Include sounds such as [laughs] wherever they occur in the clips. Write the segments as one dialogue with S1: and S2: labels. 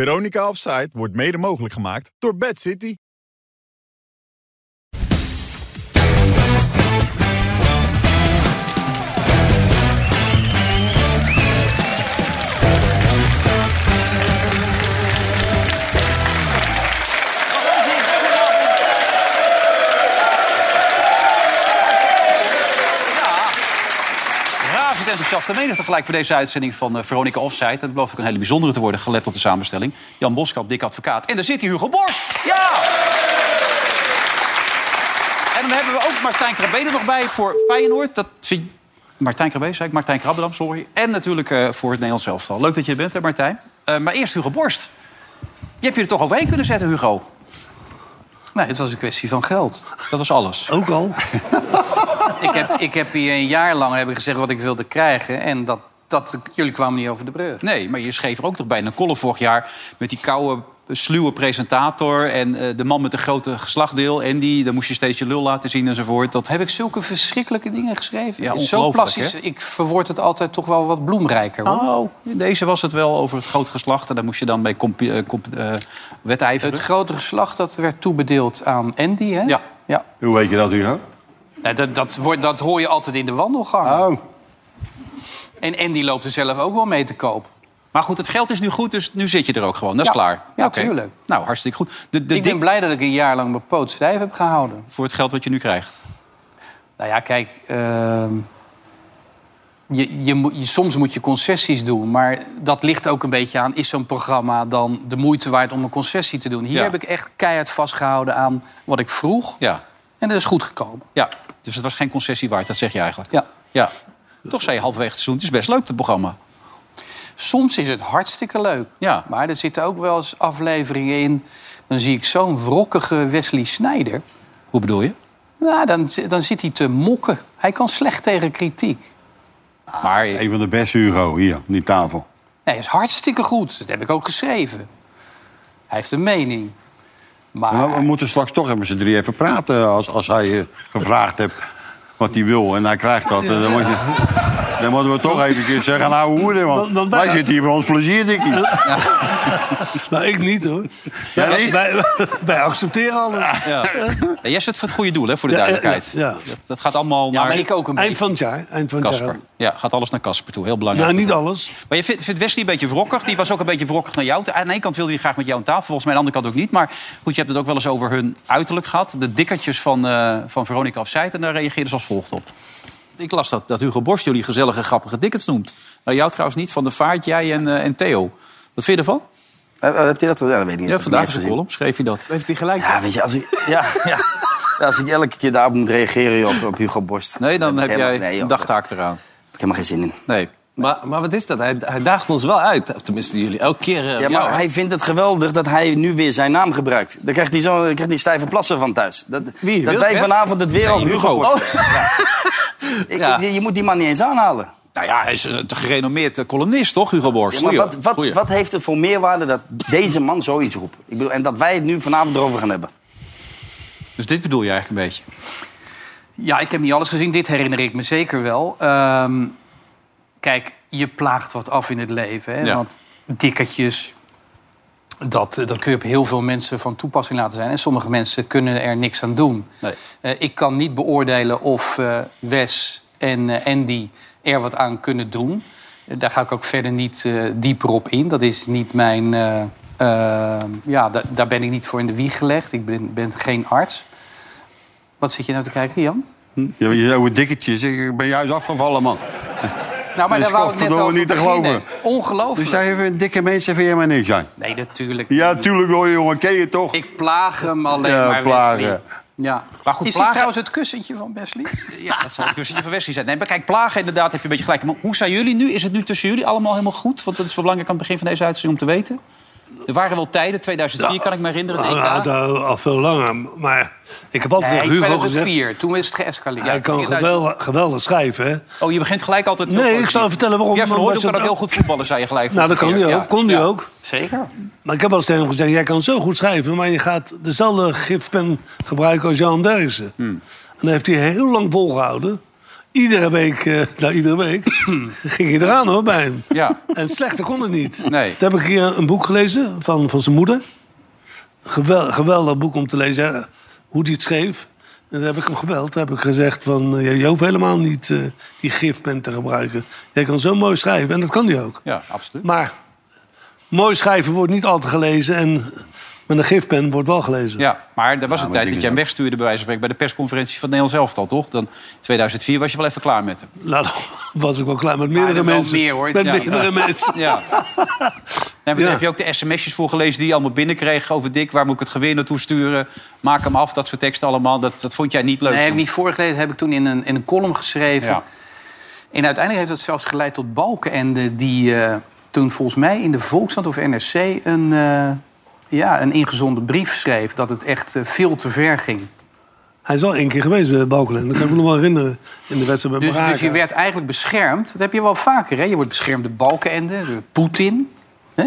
S1: Veronica Offside wordt mede mogelijk gemaakt door Bad City.
S2: Razend enthousiaste menigte gelijk voor deze uitzending van eh, Veronica Offside. En het belooft ook een hele bijzondere te worden, gelet op de samenstelling. Jan Boskamp, dik advocaat. En daar zit hij, Hugo Borst. Ja! En dan hebben we ook Martijn Krabbe er nog bij voor Feyenoord. Dat vind Martijn Krabbe, zei ik. Martijn Krabbedam, sorry. En natuurlijk eh, voor het Nederlands elftal. Leuk dat je er bent, hè, Martijn. Eh, maar eerst Hugo Borst. Je hebt je er toch overheen kunnen zetten, Hugo.
S3: Nee, het was een kwestie van geld.
S2: Dat was alles.
S4: Ook al.
S3: ik, heb, ik heb hier een jaar lang hebben gezegd wat ik wilde krijgen. En dat, dat, jullie kwamen niet over de brug.
S2: Nee, maar je schreef er ook nog bij in een column vorig jaar... met die koude, sluwe presentator en eh, de man met de grote geslachtdeel. En die, dan moest je steeds je lul laten zien enzovoort. Dat...
S3: Heb ik zulke verschrikkelijke dingen geschreven?
S2: Ja,
S3: Zo
S2: ongelooflijk,
S3: plastisch.
S2: hè?
S3: Ik verwoord het altijd toch wel wat bloemrijker. Hoor.
S2: Oh, in deze was het wel over het groot geslacht. En daar moest je dan mee comp- eh, comp- eh, wedijveren.
S3: Het grote geslacht dat werd toebedeeld aan Andy, hè?
S2: Ja.
S3: ja.
S5: Hoe weet je dat, Hugo?
S3: Nou, dat, dat, wordt, dat hoor je altijd in de wandelgang.
S5: Oh.
S3: En Andy loopt er zelf ook wel mee te koop.
S2: Maar goed, het geld is nu goed, dus nu zit je er ook gewoon. Dat is
S3: Ja.
S2: klaar.
S3: Ja,
S2: oké.
S3: tuurlijk.
S2: Nou, hartstikke goed. De, de
S3: ik ben
S2: dik
S3: blij dat ik een jaar lang mijn poot stijf heb gehouden.
S2: voor het geld wat je nu krijgt.
S3: Nou ja, kijk. ehm, je, je, moet- je- soms moet je concessies doen. Maar dat ligt ook een beetje aan. Is zo'n programma dan de moeite waard om een concessie te doen? Hier
S2: Ja.
S3: heb ik echt keihard vastgehouden aan wat ik vroeg.
S2: Ja.
S3: En dat is goed gekomen.
S2: ja, dus het was geen concessie waard, dat zeg je eigenlijk.
S3: Ja.
S2: Ja. Toch zei je halverwege het seizoen, het is best leuk, het programma.
S3: Soms is het hartstikke leuk.
S2: Ja.
S3: Maar er zitten ook wel eens afleveringen in. Dan zie ik zo'n wrokkige Wesley Snijder.
S2: Hoe bedoel je?
S3: Nou, dan, zi- dan zit hij te mokken. Hij kan slecht tegen kritiek. Ah,
S2: Maar
S3: eh,
S5: Een van de beste, Hugo, hier, aan die tafel.
S3: Nee, hij is hartstikke goed. Dat heb ik ook geschreven. Hij heeft een mening. Maar...
S5: Maar Nou, we moeten straks toch even z'n drie even praten als, als hij eh, gevraagd hebt wat hij wil en hij krijgt dat. Dan, moet je, dan moeten we toch even een keer zeggen, nou hoe dan? Want,
S4: Want- want wij-
S5: wij zitten hier voor ons plezier, Dikkie.
S4: Nou, ik niet hoor.
S5: Jij niet?
S4: Wij, wij accepteren
S2: Ah,
S4: alles.
S2: Ja, jij zit voor het goede doel, hè, voor de
S4: Ja, ja,
S2: duidelijkheid.
S4: ja, ja.
S2: Dat, dat gaat allemaal naar
S3: maar ik ook een
S4: Eind
S3: beetje.
S4: van het jaar. Eind van het
S2: Casper.
S4: jaar.
S2: Ja, gaat alles naar Casper toe. Heel belangrijk.
S4: Nou, niet alles.
S2: Maar je vindt, vindt Wesley een beetje wrokkig. Die was ook een beetje wrokkig naar jou. Aan de ene kant wilde hij graag met jou aan tafel. Volgens mij aan de andere kant ook niet. Maar goed, je hebt het ook wel eens over hun uiterlijk gehad. De dikkertjes van, eh, van Veronica Afzijt. En daar reageerden ze als volgt op. Ik las dat, dat Hugo Borst jullie gezellige, grappige dikkers noemt. Nou, jou trouwens niet. Van de Vaart, jij en, eh, en Theo. Wat vind je ervan?
S6: Heb, Eh, heb je dat? Ja, dat weet ik niet.
S2: Ja,
S6: Heb ik
S2: vandaag
S6: niet
S2: is
S6: gezien.
S2: een column. Schreef je dat?
S7: Heeft hij gelijk?
S6: Ja, weet je, als ik, ja, ja. [laughs] Ja, als ik elke keer daarop moet reageren joh, op, op Hugo Borst.
S2: Nee, dan
S6: Daar
S2: heb
S6: ik helemaal-
S2: jij
S6: nee, joh,
S2: een dagtaak eraan.
S6: daar heb Ik heb helemaal geen zin in.
S2: Nee.
S7: Maar, maar wat is dat? Hij, hij daagt ons wel uit. Of Tenminste, jullie elke keer. eh,
S6: Ja,
S7: op
S6: maar
S7: jou, hè?
S6: hij vindt het geweldig dat hij nu weer zijn naam gebruikt. Daar krijgt hij, zo, daar krijgt hij stijve plassen van thuis. Dat,
S7: Wie?
S6: dat
S7: Wilfred?
S6: wij vanavond het weer al
S2: Nee,
S6: Hugo
S2: Hugo.
S6: Borst zeggen. Ja. Ik-
S7: Ja.
S6: Je, je moet die man niet eens aanhalen.
S2: Nou ja, hij is een gerenommeerd eh, columnist, toch, Hugo Borst?
S6: Ja, maar wat,
S7: Goeie.
S6: wat, wat heeft het voor meerwaarde dat deze man zoiets roept? Ik bedoel, en dat wij het nu vanavond erover gaan hebben.
S2: Dus dit bedoel je eigenlijk een beetje?
S3: Ja, ik heb niet alles gezien. Dit herinner ik me zeker wel. Ehm, kijk, je plaagt wat af in het leven. Hè?
S2: Ja.
S3: Want dikketjes, dat, eh, dat kun je op heel veel mensen van toepassing laten zijn. En sommige mensen kunnen er niks aan doen.
S2: Nee.
S3: Eh, ik kan niet beoordelen of eh, Wes en eh, Andy er wat aan kunnen doen. Eh, daar ga ik ook verder niet eh, dieper op in. Dat is niet mijn. eh, eh, ja, da- daar ben ik niet voor in de wieg gelegd. Ik ben, ben geen arts. Wat zit je nou te kijken, Jan?
S5: Ja, je oude dikketjes, ik ben juist afgevallen, man.
S3: Nou, maar
S5: Dus
S3: daar wou ik net
S5: godverdomme
S3: over
S5: niet te
S3: beginnen.
S5: Dus
S3: Ongelooflijk.
S5: jij even een dikke mensen vind jij maar niks zijn.
S3: Nee, natuurlijk.
S5: Ja, tuurlijk hoor, jongen, ken je toch?
S3: Ik plaag hem alleen
S5: Ja,
S3: maar,
S5: plagen.
S3: Wesley. Ja.
S2: Maar goed,
S3: is
S2: plagen-
S3: dit trouwens het kussentje van Wesley?
S2: Ja, dat zal het kussentje van Wesley zijn. Nee, maar kijk, plagen inderdaad heb je een beetje gelijk. Maar hoe zijn jullie nu? Is het nu tussen jullie allemaal helemaal goed? Want dat is wel belangrijk aan het begin van deze uitzending om te weten. Er waren wel tijden, 2004 kan ik me herinneren, het
S8: eh,
S4: Nou,
S2: EK.
S4: nou, dat- al veel langer. Maar ik heb altijd
S3: Nee,
S4: tegen Hugo gezegd...
S3: 2004. Toen is het geëscaleerd.
S4: Hij kan geweldig, geweldig schrijven, hè?
S2: Oh, je begint gelijk altijd... heel
S4: Nee, ik
S2: positief.
S4: zal vertellen waarom.
S2: Jij van
S4: Omdat
S2: Hoordel kan
S4: ze
S2: ook
S4: het
S2: heel goed voetballen, zei je gelijk.
S4: Nou, dat kan
S2: vorige
S4: hij
S2: keer.
S4: ook. Kon hij
S2: Ja.
S4: ook.
S3: Zeker.
S4: Maar ik heb wel eens tegen hem gezegd... jij kan zo goed schrijven, maar je gaat dezelfde gifpen gebruiken als Jan Derksen. En dat heeft hij heel lang volgehouden. iedere week, eh, nou iedere week, ging je eraan hoor bij hem.
S8: Ja.
S4: En slechter kon het niet.
S8: Nee.
S4: Toen heb ik hier een boek gelezen van, van zijn moeder. Gewel- geweldig boek om te lezen, hè, hoe die het schreef. En toen heb ik hem gebeld. Toen heb ik gezegd van, eh, je hoeft helemaal niet eh, die gifpen te gebruiken. Jij kan zo mooi schrijven, en dat kan hij ook.
S8: Ja, absoluut.
S4: Maar mooi schrijven wordt niet altijd gelezen. En met een gifpen wordt wel gelezen.
S8: Ja, maar er was een
S5: maar
S8: tijd
S5: ik
S8: dat
S5: denk
S8: jij hem
S5: dat-
S8: wegstuurde bij wijze van spreken bij de persconferentie van Nederland zelf al, toch? Dan 2004 was je wel even klaar met hem.
S4: Nou, was ik wel klaar met meerdere
S3: er wel
S4: mensen.
S3: meer, hoor.
S4: Met
S3: Ja. [laughs]
S4: meerdere mensen.
S8: Ja. Nee, maar daar
S4: Ja.
S8: heb je ook de sms'jes voor gelezen die je allemaal binnenkreeg over Dick. Waar moet ik het geweer naartoe sturen? Maak hem af, dat soort teksten allemaal. Dat, dat vond jij niet leuk.
S3: Nee, heb ik
S8: toen.
S3: niet voorgelezen. Heb ik toen in een, in een column geschreven.
S8: Ja.
S3: En uiteindelijk heeft dat zelfs geleid tot Balkenende... die eh, toen volgens mij in de Volkskrant of NRC een, eh, ja, een ingezonden brief schreef... dat het echt eh, veel te ver ging.
S4: Hij is wel één keer geweest, eh, Balkenende. Dat kan ik me nog wel herinneren. In de wedstrijd bij
S3: Dus,
S4: Braga.
S3: dus je werd eigenlijk beschermd. Dat heb je wel vaker, hè? Je wordt beschermd door Balkenende, door Poetin. Hè?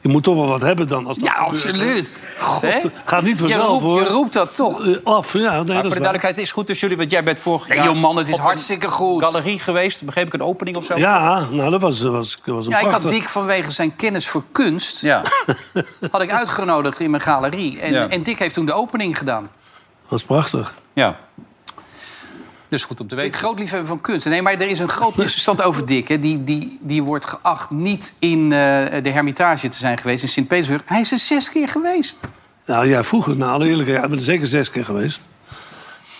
S4: Je moet toch wel wat hebben dan. Als dat
S3: Ja,
S4: gebeurt.
S3: absoluut.
S4: God,
S3: Hè?
S4: gaat niet
S3: Je
S4: vanzelf,
S3: roept,
S4: hoor.
S3: je roept dat toch.
S4: Eh, af, ja. Nee,
S8: Maar
S4: dat
S8: voor
S4: is
S8: de
S4: waar.
S8: duidelijkheid, het is goed tussen jullie, want jij bent vorig
S3: Nee,
S8: jaar...
S3: joh, man, het is
S8: op een
S3: hartstikke goed.
S8: galerie geweest, begreep ik, een opening of zo?
S4: Ja, nou, dat was, was, was een
S3: Ja, ik had
S4: prachtig...
S3: Dick vanwege zijn kennis voor kunst...
S8: Ja.
S3: [laughs] had ik uitgenodigd in mijn galerie. En,
S8: Ja.
S3: en Dick heeft toen de opening gedaan.
S4: Dat was prachtig.
S8: ja. Dus goed om te
S3: Ik
S8: weten.
S3: groot liefhebber van kunst. Nee, maar er is een groot [laughs] misverstand over Dick. Hè. Die, die, die wordt geacht niet in eh, de Hermitage te zijn geweest in Sint-Petersburg. Hij is er zes keer geweest.
S4: Nou ja, vroeger, nou, alle eerlijkheid. Ik ben er zeker zes keer geweest.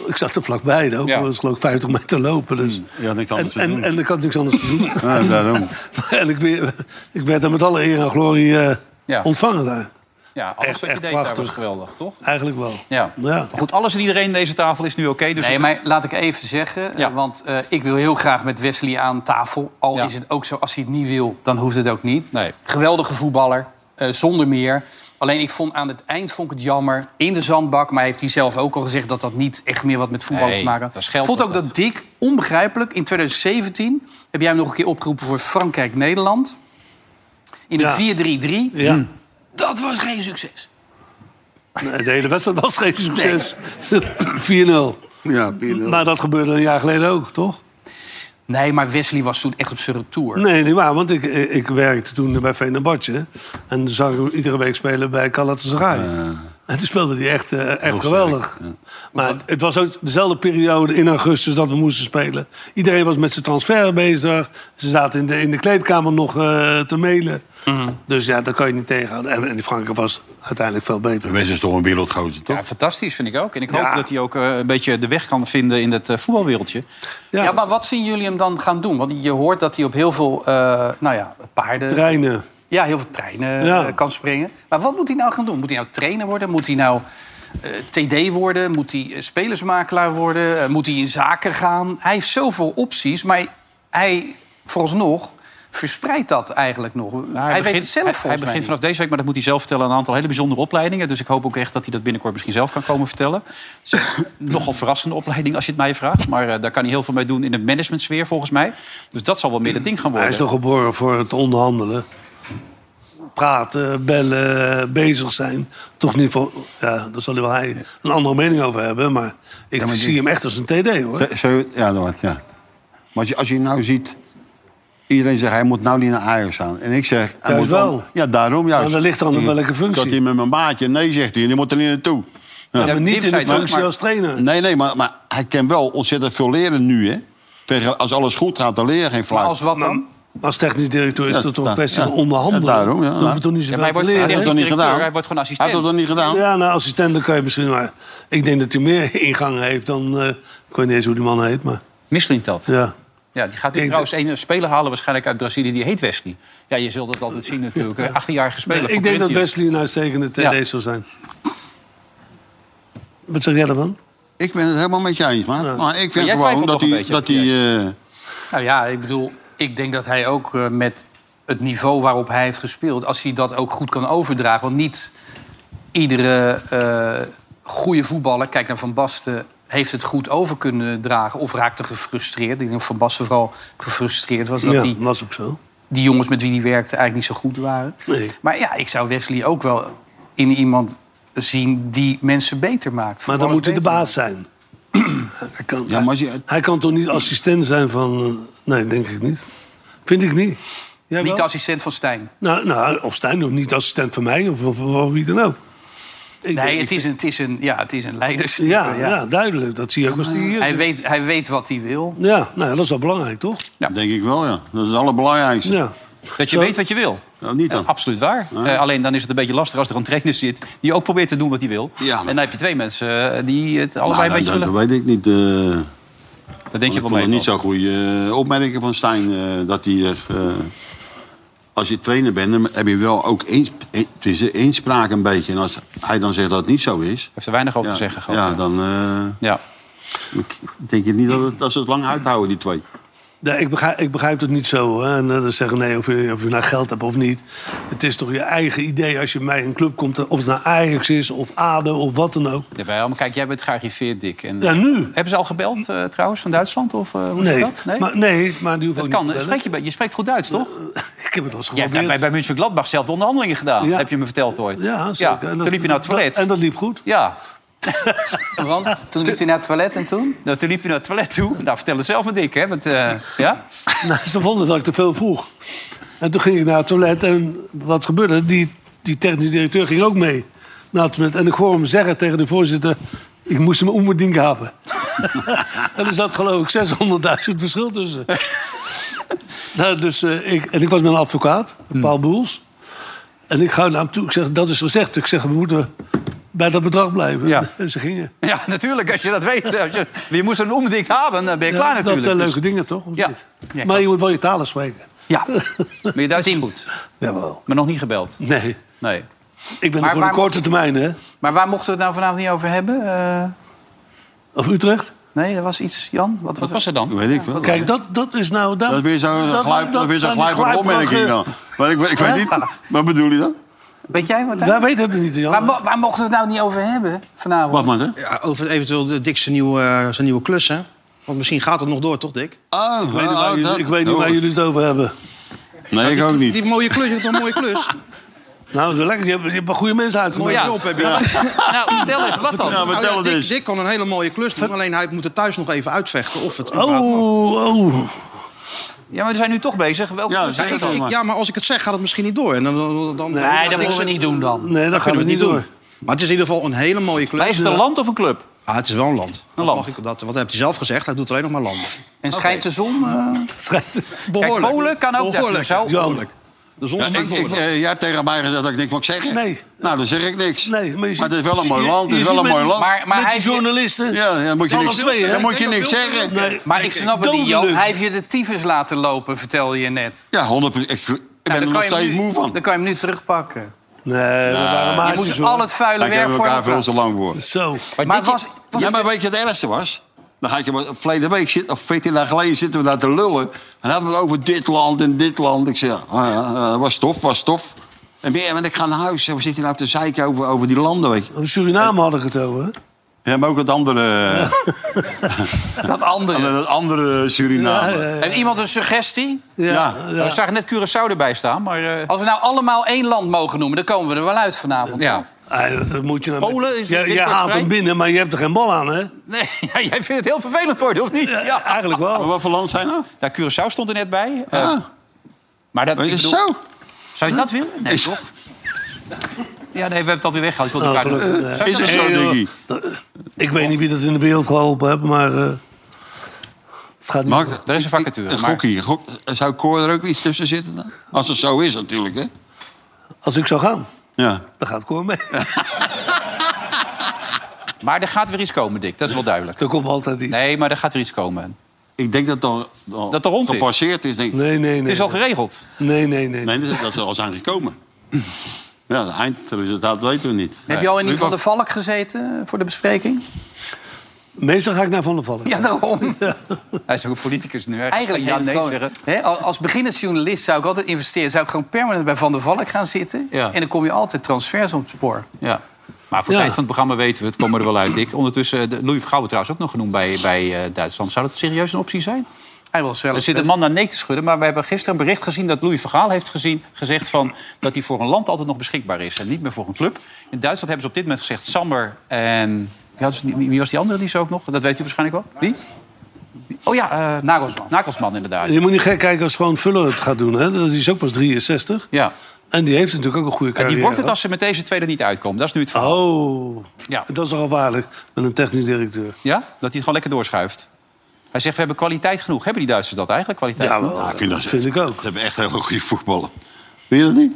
S4: Ik zat er vlakbij. Ook.
S8: Ja.
S4: was geloof ik 50 meter lopen. Dus.
S5: Je Mm. had niks
S4: En,
S5: anders te
S4: en,
S5: doen.
S4: en ik had niks anders te
S5: [laughs]
S4: doen.
S5: Ja, Nou, daarom.
S4: [laughs] en ik, weer- ik werd daar met alle eer en glorie eh,
S8: Ja.
S4: ontvangen daar.
S8: Ja, alles
S4: Echt-
S8: wat je
S4: echt
S8: deed daar was
S4: prachtig.
S8: geweldig, toch?
S4: Eigenlijk wel.
S8: Ja.
S4: Ja.
S8: Goed, alles en iedereen in deze tafel is nu oké. dus
S3: Nee, maar laat ik even zeggen, eh,
S8: Ja.
S3: want eh, ik wil heel graag met Wesley aan tafel. Al
S8: Ja.
S3: is het ook zo, als hij het niet wil, dan hoeft het ook niet.
S8: Nee.
S3: Geweldige voetballer, eh, zonder meer. Alleen ik vond aan het eind vond ik het jammer, in de zandbak. Maar heeft hij zelf ook al gezegd dat dat niet echt meer wat met voetballen
S8: Nee,
S3: te maken
S8: dat is geld,
S3: vond
S8: was
S3: ook
S8: dat.
S3: dat. Dick, onbegrijpelijk, in 2017 heb jij hem nog een keer opgeroepen voor Frankrijk-Nederland. In
S4: Ja.
S3: de 4-3-3.
S4: Ja.
S3: Dat was geen succes.
S4: Nee, de hele wedstrijd was geen succes. [laughs] 4-0.
S9: Ja, 4-0.
S4: Maar dat gebeurde een jaar geleden ook, toch?
S3: Nee, maar Wesley was toen echt op zijn retour.
S4: Nee, niet waar. Want ik, ik werkte toen bij Fenerbahce. En toen zag ik hem iedere week spelen bij Galatasaray. En toen speelde hij echt, eh, echt geweldig. Maar het was ook dezelfde periode in augustus dat we moesten spelen. Iedereen was met zijn transfer bezig. Ze zaten in de, in de kleedkamer nog eh, te mailen. Dus ja, daar kan je niet tegenhouden. En, en die Franken was uiteindelijk veel beter.
S5: Wees is toch een wereldgozer, toch?
S8: Ja, fantastisch vind ik ook. En ik hoop
S4: Ja.
S8: dat hij ook eh, een beetje de weg kan vinden in het eh, voetbalwereldje.
S4: Ja,
S3: Ja, maar wat zien jullie hem dan gaan doen? Want je hoort dat hij op heel veel eh, nou ja, paarden,
S4: treinen.
S3: ja, heel veel treinen
S4: Ja.
S3: eh, kan springen. Maar wat moet hij nou gaan doen? Moet hij nou trainer worden? Moet hij nou eh, TD worden? Moet hij eh, spelersmakelaar worden? Eh, moet hij in zaken gaan? Hij heeft zoveel opties, maar hij vooralsnog verspreidt dat eigenlijk nog. hij
S8: Nou,
S3: weet het zelf
S8: hij,
S3: volgens
S8: hij
S3: mij
S8: begint
S3: niet.
S8: vanaf deze week, maar dat moet hij zelf vertellen, aan een aantal hele bijzondere opleidingen. Dus ik hoop ook echt dat hij dat binnenkort misschien zelf kan komen vertellen.
S4: [laughs]
S8: Het is een nogal verrassende opleiding als je het mij vraagt. Maar eh, daar kan hij heel veel mee doen in de managementsfeer volgens mij. Dus dat zal wel meer het ding gaan
S4: Hij
S8: worden.
S4: is toch geboren voor het onderhandelen. Praten, bellen, bezig zijn. Toch niet voor... Ja, daar zal hij wel hij een andere mening over hebben. Maar ik zie hem echt als een TD, hoor.
S5: Zo- zo- ja, Noord, ja. Maar als je, als je nou ziet... Iedereen zegt, hij moet nou niet naar Ajax gaan. En ik zeg... Hij
S4: Juist
S5: moet
S4: wel.
S5: dan- ja, daarom juist.
S4: Maar dat ligt dan op
S5: Ik-
S4: welke functie.
S5: Dat hij met mijn maatje... Nee, zegt hij, en die moet er niet naartoe.
S4: Ja, maar niet in
S8: zei
S4: de
S8: het ook,
S4: functie
S8: maar-
S4: als trainer.
S5: Nee, nee, maar, maar hij kan wel ontzettend veel leren nu, hè. Tegen, als alles goed gaat, dan leer je geen
S3: Maar
S5: flauw.
S3: als wat dan?
S4: Maar als technisch directeur is
S5: Ja,
S4: dat toch een
S5: ja,
S4: kwestie
S5: ja.
S4: van onderhandelen.
S5: Ja, daarom, ja.
S4: Dan hoef je toch niet zoveel
S8: maar hij
S4: te
S8: wordt-
S5: Hij
S4: leren.
S5: heeft
S8: Technisch
S5: dat niet
S8: directeur,
S5: gedaan.
S8: hij wordt gewoon
S5: Hij
S8: assistent.
S5: heeft dat niet gedaan.
S4: Ja, nou, assistent dan kan je misschien maar... Ik denk dat hij meer [laughs] ingangen heeft dan... eh, ik weet niet eens hoe die man heet, maar...
S8: Misselint dat. Ja.
S4: Ja.
S8: die gaat nu
S4: Ik-
S8: trouwens een speler halen waarschijnlijk uit Brazilië. Die heet Wesley. Ja, je zult het altijd zien natuurlijk. Eh, 18-jarige speler van
S4: ik denk dat
S8: Corinthians.
S4: Wesley een uitstekende TD
S8: Ja.
S4: zou zijn. Wat zeg jij daarvan?
S5: Ik ben het helemaal met je eens, man. Maar ik vind
S8: jij
S5: gewoon
S8: twijfelt
S5: dat
S8: nog een
S5: hij...
S8: beetje,
S5: Dat
S8: heb
S5: hij
S8: ik
S5: eh,
S3: Nou ja, ik bedoel, ik denk dat hij ook eh, met het niveau waarop hij heeft gespeeld, als hij dat ook goed kan overdragen. Want niet iedere eh, goede voetballer, kijk naar Van Basten, heeft het goed over kunnen dragen of raakte gefrustreerd. Ik denk dat Van Basten vooral gefrustreerd was dat
S4: ja,
S3: die,
S4: was ook zo.
S3: die jongens met wie hij werkte eigenlijk niet zo goed waren.
S4: Nee.
S3: Maar ja, ik zou Wesley ook wel in iemand zien die mensen beter maakt.
S4: Maar dan
S3: voetballers
S4: moet hij de
S3: beter
S4: baas zijn. [clears throat] Hij kan,
S5: Ja, maar als je-
S4: hij kan toch niet assistent zijn van... eh, Nee, denk ik niet. Vind ik niet. Jij
S3: Niet
S4: wel?
S3: de assistent van Stijn.
S4: Nou, nou, of Stijn, of niet assistent van mij, of van, van- van wie dan ook. Ik denk-
S3: Nee, het is een, het is een, ja, het is een leiderstype.
S4: ja, ja. duidelijk. Dat zie je ook als die hier...
S3: Hij, weet, hij weet wat hij wil.
S4: Ja, nou, dat is wel belangrijk, toch?
S5: Denk ik wel, ja. Dat is het allerbelangrijkste.
S4: Ja.
S8: Dat je
S4: Zo-
S8: weet wat je wil.
S5: Nou, niet dan.
S8: Eh, absoluut waar. Eh, alleen dan is het een beetje lastig als er een trainer zit... die ook probeert te doen wat hij wil.
S5: Ja, maar-
S8: En dan heb je twee mensen eh, die het allebei
S5: Nou,
S8: een beetje
S5: dat, dat
S8: willen.
S5: weet ik niet. eh
S8: Dat denk je
S5: ik
S8: wel
S5: vond
S8: mee.
S5: het niet zo'n
S8: Paul.
S5: goede eh, opmerking van Stijn. eh, dat hij er, eh, als je trainer bent, dan heb je wel ook eens, eh, het is een inspraak een beetje. En als hij dan zegt dat het niet zo is...
S8: Heeft er weinig over
S5: ja,
S8: te zeggen gehad.
S5: ja,
S8: ja.
S5: dan eh,
S8: Ja.
S5: denk je niet dat, het, dat ze het lang uithouden, die twee.
S4: Nee, ik, begrijp, ik begrijp het niet zo. Hè. En eh, dat zeggen, nee, of je, of je nou geld hebt of niet. Het is toch je eigen idee als je bij een club komt. Of het nou Ajax is, of ADO, of wat dan ook.
S8: Ja, wij allemaal, kijk, jij bent gearriveerd, Dick. En, eh,
S4: Ja, nu.
S8: Hebben ze al gebeld eh, trouwens van Duitsland? Of eh, hoe zit
S4: Nee,
S8: dat? Nee?
S4: Maar, nee maar die hoeft
S8: dat
S4: ook
S8: kan.
S4: niet
S8: hè?
S4: te
S8: Spreek je, bij- je spreekt goed Duits, toch?
S4: bellen. [laughs] Ik heb het wel eens
S8: Jij hebt
S4: geprobeerd.
S8: bij, bij München Gladbach zelf de onderhandelingen gedaan.
S4: Ja.
S8: Heb je me verteld ooit.
S4: Ja, zeker. En dat-
S8: Toen liep je naar het toilet.
S4: En dat liep goed.
S8: Ja,
S3: Want toen liep hij naar het toilet en toen?
S8: nou, toen liep je naar het toilet toe. Nou, vertel het zelf maar, Dick. Hè? Want, eh,
S4: [laughs]
S8: ja?
S4: Nou, ze vonden dat ik te veel vroeg. En toen ging ik naar het toilet en wat gebeurde? Die, die technisch directeur ging ook mee naar het toilet. En ik hoorde hem zeggen tegen de voorzitter... ik moest hem onbedingt hebben. [laughs] en er zat geloof ik 600.000 verschil
S8: [laughs]
S4: tussen. nou, dus, eh, ik, en ik was met een advocaat,
S8: Hmm.
S4: Paul Boels. En ik ga naar hem toe. Ik zeg, dat is gezegd. Ik zeg, we moeten bij dat bedrag blijven.
S8: Ja.
S4: [laughs] En ze gingen.
S8: ja, natuurlijk. Als je dat weet. Als je, je moest een omdikt hebben, dan ben je klaar
S4: Ja,
S8: natuurlijk.
S4: Dat eh, zijn
S8: Dus-
S4: leuke dingen, toch? Of
S8: Ja.
S4: niet?
S8: Ja,
S4: Maar je moet wel je talen spreken.
S8: Ja, maar je Duits is goed.
S4: Jawel.
S8: Maar nog niet gebeld.
S4: Nee.
S8: Nee.
S4: Ik ben
S3: Maar
S4: er voor
S3: waar-
S4: de korte termijn, hè?
S3: Maar waar mochten we het nou vanavond niet over hebben? Eh,
S4: Of Utrecht?
S3: nee, er was iets, Jan? Wat,
S8: Wat
S3: was
S8: was er dan?
S5: Dat weet ik wel.
S4: Kijk, dat, dat is nou...
S5: dat is weer zo'n
S4: dat-
S5: gluip- dat is weer zo'n
S4: zijn die
S5: gluipende opmerking dan.
S4: gluipbruggen.
S5: Maar ik, ik weet niet, wat bedoel je dan?
S3: Weet jij wat?
S4: Wij weten het niet, Jan.
S3: Waar, mo- waar mochten we het nou niet over hebben vanavond?
S5: Wacht maar, hè.
S9: Ja, Ah, over eventueel de Dick zijn nieuwe, eh, zijn nieuwe klus, hè? Want misschien gaat het nog door, toch, Dick?
S5: Oh,
S4: ik weet niet waar,
S5: oh,
S4: jullie,
S5: dat-
S4: ik weet niet
S5: oh.
S4: waar jullie Nou, het over hebben.
S5: Nee, ik ook niet.
S9: Die mooie klus, je hebt toch een mooie [laughs] klus?
S4: Nou, dat is wel lekker. Je hebt, je hebt een goede mensen
S9: mooie
S4: uitgenodigd.
S8: Ja.
S9: job heb je.
S8: Nou, vertel even, wat dan?
S5: Oh, Ja,
S9: Nou ja,
S5: vertel het
S9: Dick,
S5: eens.
S9: Dick kan een hele mooie klus doen, alleen hij moet het thuis nog even uitvechten of het überhaupt mag.
S4: Oh, oh.
S8: Ja, maar we zijn nu toch bezig. Welke
S5: Ja,
S8: klus
S5: zeg
S8: is
S5: het
S8: dat?
S5: dan
S9: Ik-
S5: maar.
S9: ja, maar als ik het zeg, gaat het misschien niet door. En dan, dan, dan- dan-
S3: Nee,
S9: Dick
S3: dat moeten we
S9: zijn-
S3: niet doen dan.
S4: Nee, dat gaan
S9: kunnen
S4: we niet door.
S9: Maar het is in ieder geval een hele mooie klus.
S8: Maar is het een land of een club?
S9: Ah, het is wel een land. Dat
S8: land.
S9: mag ik- dat, wat heb je zelf gezegd? Hij doet alleen nog maar land.
S3: En schijnt de zon? eh?
S4: Schijnt-
S9: Behoorlijk.
S8: Polen kan ook
S9: Behoorlijk.
S8: zeggen, zo.
S9: Behoorlijk. De zon
S5: Ja,
S9: schijnt
S5: ik, ik,
S9: behoorlijk.
S5: eh, jij hebt tegen mij gezegd dat ik niks mag zeggen.
S4: Nee.
S5: Nou, dan zeg ik niks.
S4: Nee, maar je ziet-
S5: het is wel een
S4: je-
S5: mooi land. Het
S4: je
S5: is wel
S4: ziet
S5: een mooi
S4: met-
S5: land.
S3: Maar, maar
S4: Met
S3: hij
S4: die
S3: heeft je-
S4: journalisten.
S5: Ja, ja, dan moet je
S4: Alle
S5: niks,
S4: twee, hè?
S5: dan moet je
S9: Ik denk
S5: niks
S9: dat
S5: zeggen.
S4: Nee.
S3: Maar ik snap het niet,
S4: Dodelijk.
S3: Joop. Hij heeft je de tyfus laten lopen, vertelde je net.
S5: Ja, 100 Ik, ik ben
S3: Nou,
S5: er
S3: dan
S5: nog
S3: kan je hem
S5: steeds
S3: nu-
S5: moe van.
S3: Dan kan je hem nu terugpakken.
S4: Nee, dat waren
S3: Je
S4: maatjes,
S3: moest
S4: hoor.
S3: al het vuile
S5: Daar
S3: werk
S5: hebben we
S3: voor
S5: elkaar
S3: hem
S5: veel
S3: plaatsen.
S5: te lang voor.
S4: Zo.
S3: Maar was, was
S5: Ja, maar weet je wat het ergste was? Dan ga ik je maar... Verleden week, zit, of 14 dagen geleden, zitten we daar te lullen. En hadden we het over dit land en dit land. Ik zeg, ah, ja, eh, was tof, was tof. En weer, want ik ga naar huis. En we zitten nou te zeiken over, over die landen, weet je.
S4: Over Suriname hadden we het over, hè?
S5: Ja, maar ook het andere,
S3: dat
S8: [laughs]
S5: [laughs]
S3: andere?
S5: het andere Suriname. Ja,
S3: Heeft iemand een suggestie?
S8: Nou, we zagen net Curaçao erbij staan, maar... eh, [laughs]
S3: Als we nou allemaal één land mogen noemen, dan komen we er wel uit vanavond.
S8: ja.
S4: Ah, dat moet je nou...
S8: Polen is
S4: Jij- Jij
S8: binnenkort
S4: haalt
S8: vrij.
S4: hem binnen, maar je hebt er geen bal aan, hè?
S8: Nee, ja, jij vindt het heel vervelend worden, of niet?
S4: Ja,
S8: Ja.
S4: eigenlijk wel.
S5: Maar wat voor land zijn dat?
S8: Nou, Curaçao stond er net bij. eh, maar dat, ik
S5: Is
S8: bedoel,
S5: het zo?
S8: zou je dat willen? Nee,
S5: Is-
S8: toch? Ja, nee, we hebben het alweer weggehaald. Ik wilde
S4: Oh,
S8: elkaar doen.
S4: gelukkig,
S8: Zou je
S5: Is
S8: dat
S5: het
S8: willen?
S5: zo,
S4: Hey, joh.
S5: Diggy?
S4: Ik weet niet wie dat in de wereld geholpen heeft, maar... eh, het gaat niet
S5: Mark,
S8: Er is een vacature,
S5: Een
S8: maar-
S5: gokkie. Gok, zou Cor er ook iets tussen zitten dan? Als het zo is natuurlijk, hè?
S4: Als ik zou gaan,
S5: Ja.
S4: dan gaat Cor mee. [laughs]
S8: Maar er gaat weer iets komen, Dick. Dat is wel duidelijk.
S4: Dan komt altijd iets.
S8: Nee, maar er gaat weer iets komen.
S5: Ik denk dat dan, dan
S8: Dat er rond is.
S5: gepasseerd is. denk ik.
S4: Nee, nee, nee.
S8: Het is al geregeld.
S4: Nee, nee, nee.
S5: Nee, dat is, dat is er al zijn gekomen. Ja, het eindresultaat weten we niet.
S3: Heb je al in
S5: Nee.
S3: ieder geval de valk gezeten eh, voor de bespreking?
S4: Meestal ga ik naar Van der Valk.
S3: Ja, daarom.
S8: Hij is ook een politicus nu.
S3: [laughs]
S8: hè.
S3: Eigenlijk
S8: Ga
S3: ja,
S8: ja, nee
S3: gewoon,
S8: zeggen.
S3: hè, al- als beginnend journalist zou ik altijd investeren. Zou ik gewoon permanent bij Van der Valk gaan zitten.
S8: Ja.
S3: En dan kom je altijd transfers op het spoor.
S8: Ja. Maar voor het
S4: Ja.
S8: eind van het programma weten we het. Komen we er wel uit, Dick. Ondertussen, eh, de- Louis van Gaal wordt trouwens ook nog genoemd bij, bij eh, Duitsland. Zou dat serieus een optie zijn?
S3: Hij wil zelf dus-
S8: Er zit een man naar nee te schudden, maar we hebben gisteren een bericht gezien... dat Louis Vergaal heeft gezien, gezegd van, dat hij voor een land altijd nog beschikbaar is... en niet meer voor een club. In Duitsland hebben ze op dit moment gezegd Sammer en, Wie, had ze- wie- wie was die andere die zo ook nog? Dat weet u waarschijnlijk wel. Wie? Wie- Oh ja, eh,
S3: Nagelsman.
S8: Nakelsman inderdaad.
S4: Je moet niet gek kijken als gewoon Fuller het gaat doen. Hè? Die is ook pas 63.
S8: Ja.
S4: En die eh, heeft natuurlijk ook een goede
S8: En
S4: carrière.
S8: die wordt het als ze met deze tweede niet uitkomen. Dat is nu het verhaal.
S4: Oh,
S8: Ja.
S4: dat is al gevaarlijk met een technisch directeur.
S8: Ja? Dat hij het gewoon lekker doorschuift. Hij zegt, we hebben kwaliteit genoeg. Hebben die Duitsers dat eigenlijk, kwaliteit
S4: nou
S8: genoeg?
S5: Ja, ik vind dat,
S4: Vind ik ook.
S5: Ze hebben echt heel goede voetballen. Vind je dat niet?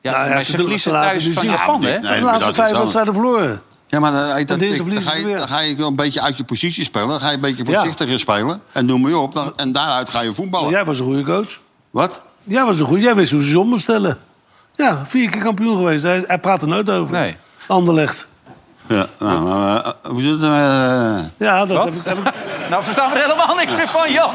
S8: Ja,
S4: Nou ja,
S8: maar
S4: ze
S8: ze,
S4: doen-
S8: verliezen
S4: ze laten
S8: thuis
S4: nu
S8: van
S4: zien.
S8: Japan, hè?
S5: Nee,
S4: de
S5: maar
S4: laatste
S5: dat
S4: vijf
S5: is anders.
S4: wedstrijden verloren.
S5: Ja, maar dan, dat,
S4: deze
S5: ik- dan,
S4: verliezen
S5: ga
S4: ze
S5: je,
S4: weer.
S5: dan ga je wel een beetje uit je positie spelen. Dan ga je een beetje voorzichtiger spelen. En noem maar op. Dan, en daaruit ga je voetballen.
S4: Oh. Jij was een goede coach.
S5: Wat?
S4: Jij was een goede. Jij wist hoe ze je om moest stellen. Ja, vier keer kampioen geweest. Hij, hij praat er nooit over.
S8: Nee.
S4: Anderlecht.
S5: Ja, nou, maar, eh, hoe zit het? eh,
S4: Ja, dat
S8: Wat? [laughs] nou, verstaan we er helemaal niks meer van, Jan.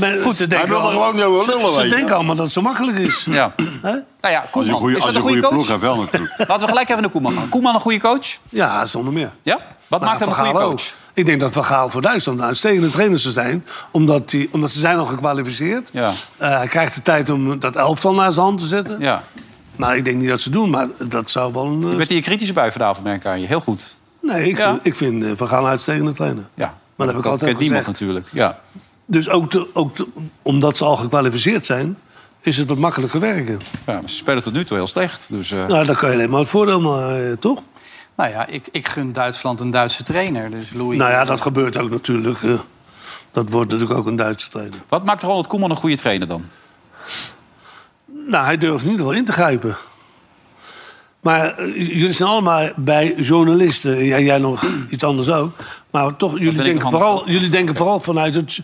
S4: Maar
S5: Goed,
S4: ze
S5: hij
S4: denken,
S5: wil er
S4: allemaal,
S5: gewoon heel
S4: ze,
S5: lullen,
S4: ze
S5: weet je.
S4: denken allemaal dat het zo makkelijk is.
S8: ja. Nou ja,
S5: als je een
S8: Koeman.
S5: goede,
S8: is
S5: als
S8: dat
S5: je
S8: een
S5: een goede
S8: goede
S5: ploeg hebt,
S8: coach?
S5: wel
S8: [laughs]
S5: natuurlijk.
S8: Laten we gelijk even naar Koeman gaan. Koeman een goede coach?
S4: Ja, zonder meer.
S8: Ja? Wat maakt hem
S4: van
S8: een goede
S4: Gaal
S8: coach?
S4: ook. Ik denk dat Van Gaal voor Duitsland een uitstekende trainer zou zijn. Omdat, die, omdat ze zijn al gekwalificeerd.
S8: Ja.
S4: Eh, hij krijgt de tijd om dat elftal naar zijn hand te zetten.
S8: Ja.
S4: Maar ik denk niet dat ze doen. Maar dat zou wel een... eh,
S8: Je bent hier kritische bui vanavond, merk ik aan je. Heel goed.
S4: Nee, ik,
S8: Ja.
S4: vind- ik vind eh, Van Gaal een uitstekende trainer.
S8: Ja.
S4: Maar dat heb ik altijd
S8: kent niemand
S4: gezegd.
S8: natuurlijk. Ja.
S4: Dus ook, te- ook te- omdat ze al gekwalificeerd zijn... is het wat makkelijker werken.
S8: ja, maar ze spelen tot nu toe heel slecht. Dus, eh,
S4: Nou, daar kan je alleen maar het voordeel maar, eh, toch?
S3: Nou ja, ik, ik gun Duitsland een Duitse trainer. Dus Louis.
S4: Nou ja, dat gebeurt ook natuurlijk. eh. dat wordt natuurlijk ook een Duitse trainer.
S8: Wat maakt Ronald Koeman een goede trainer dan?
S4: Nou, hij durft in ieder geval in te grijpen. Maar eh, jullie zijn allemaal bij journalisten. Ja, jij nog [clears throat] iets anders ook. Maar toch, jullie
S8: ik
S4: denken,
S8: nog anders
S4: vooral, jullie denken vooral vanuit het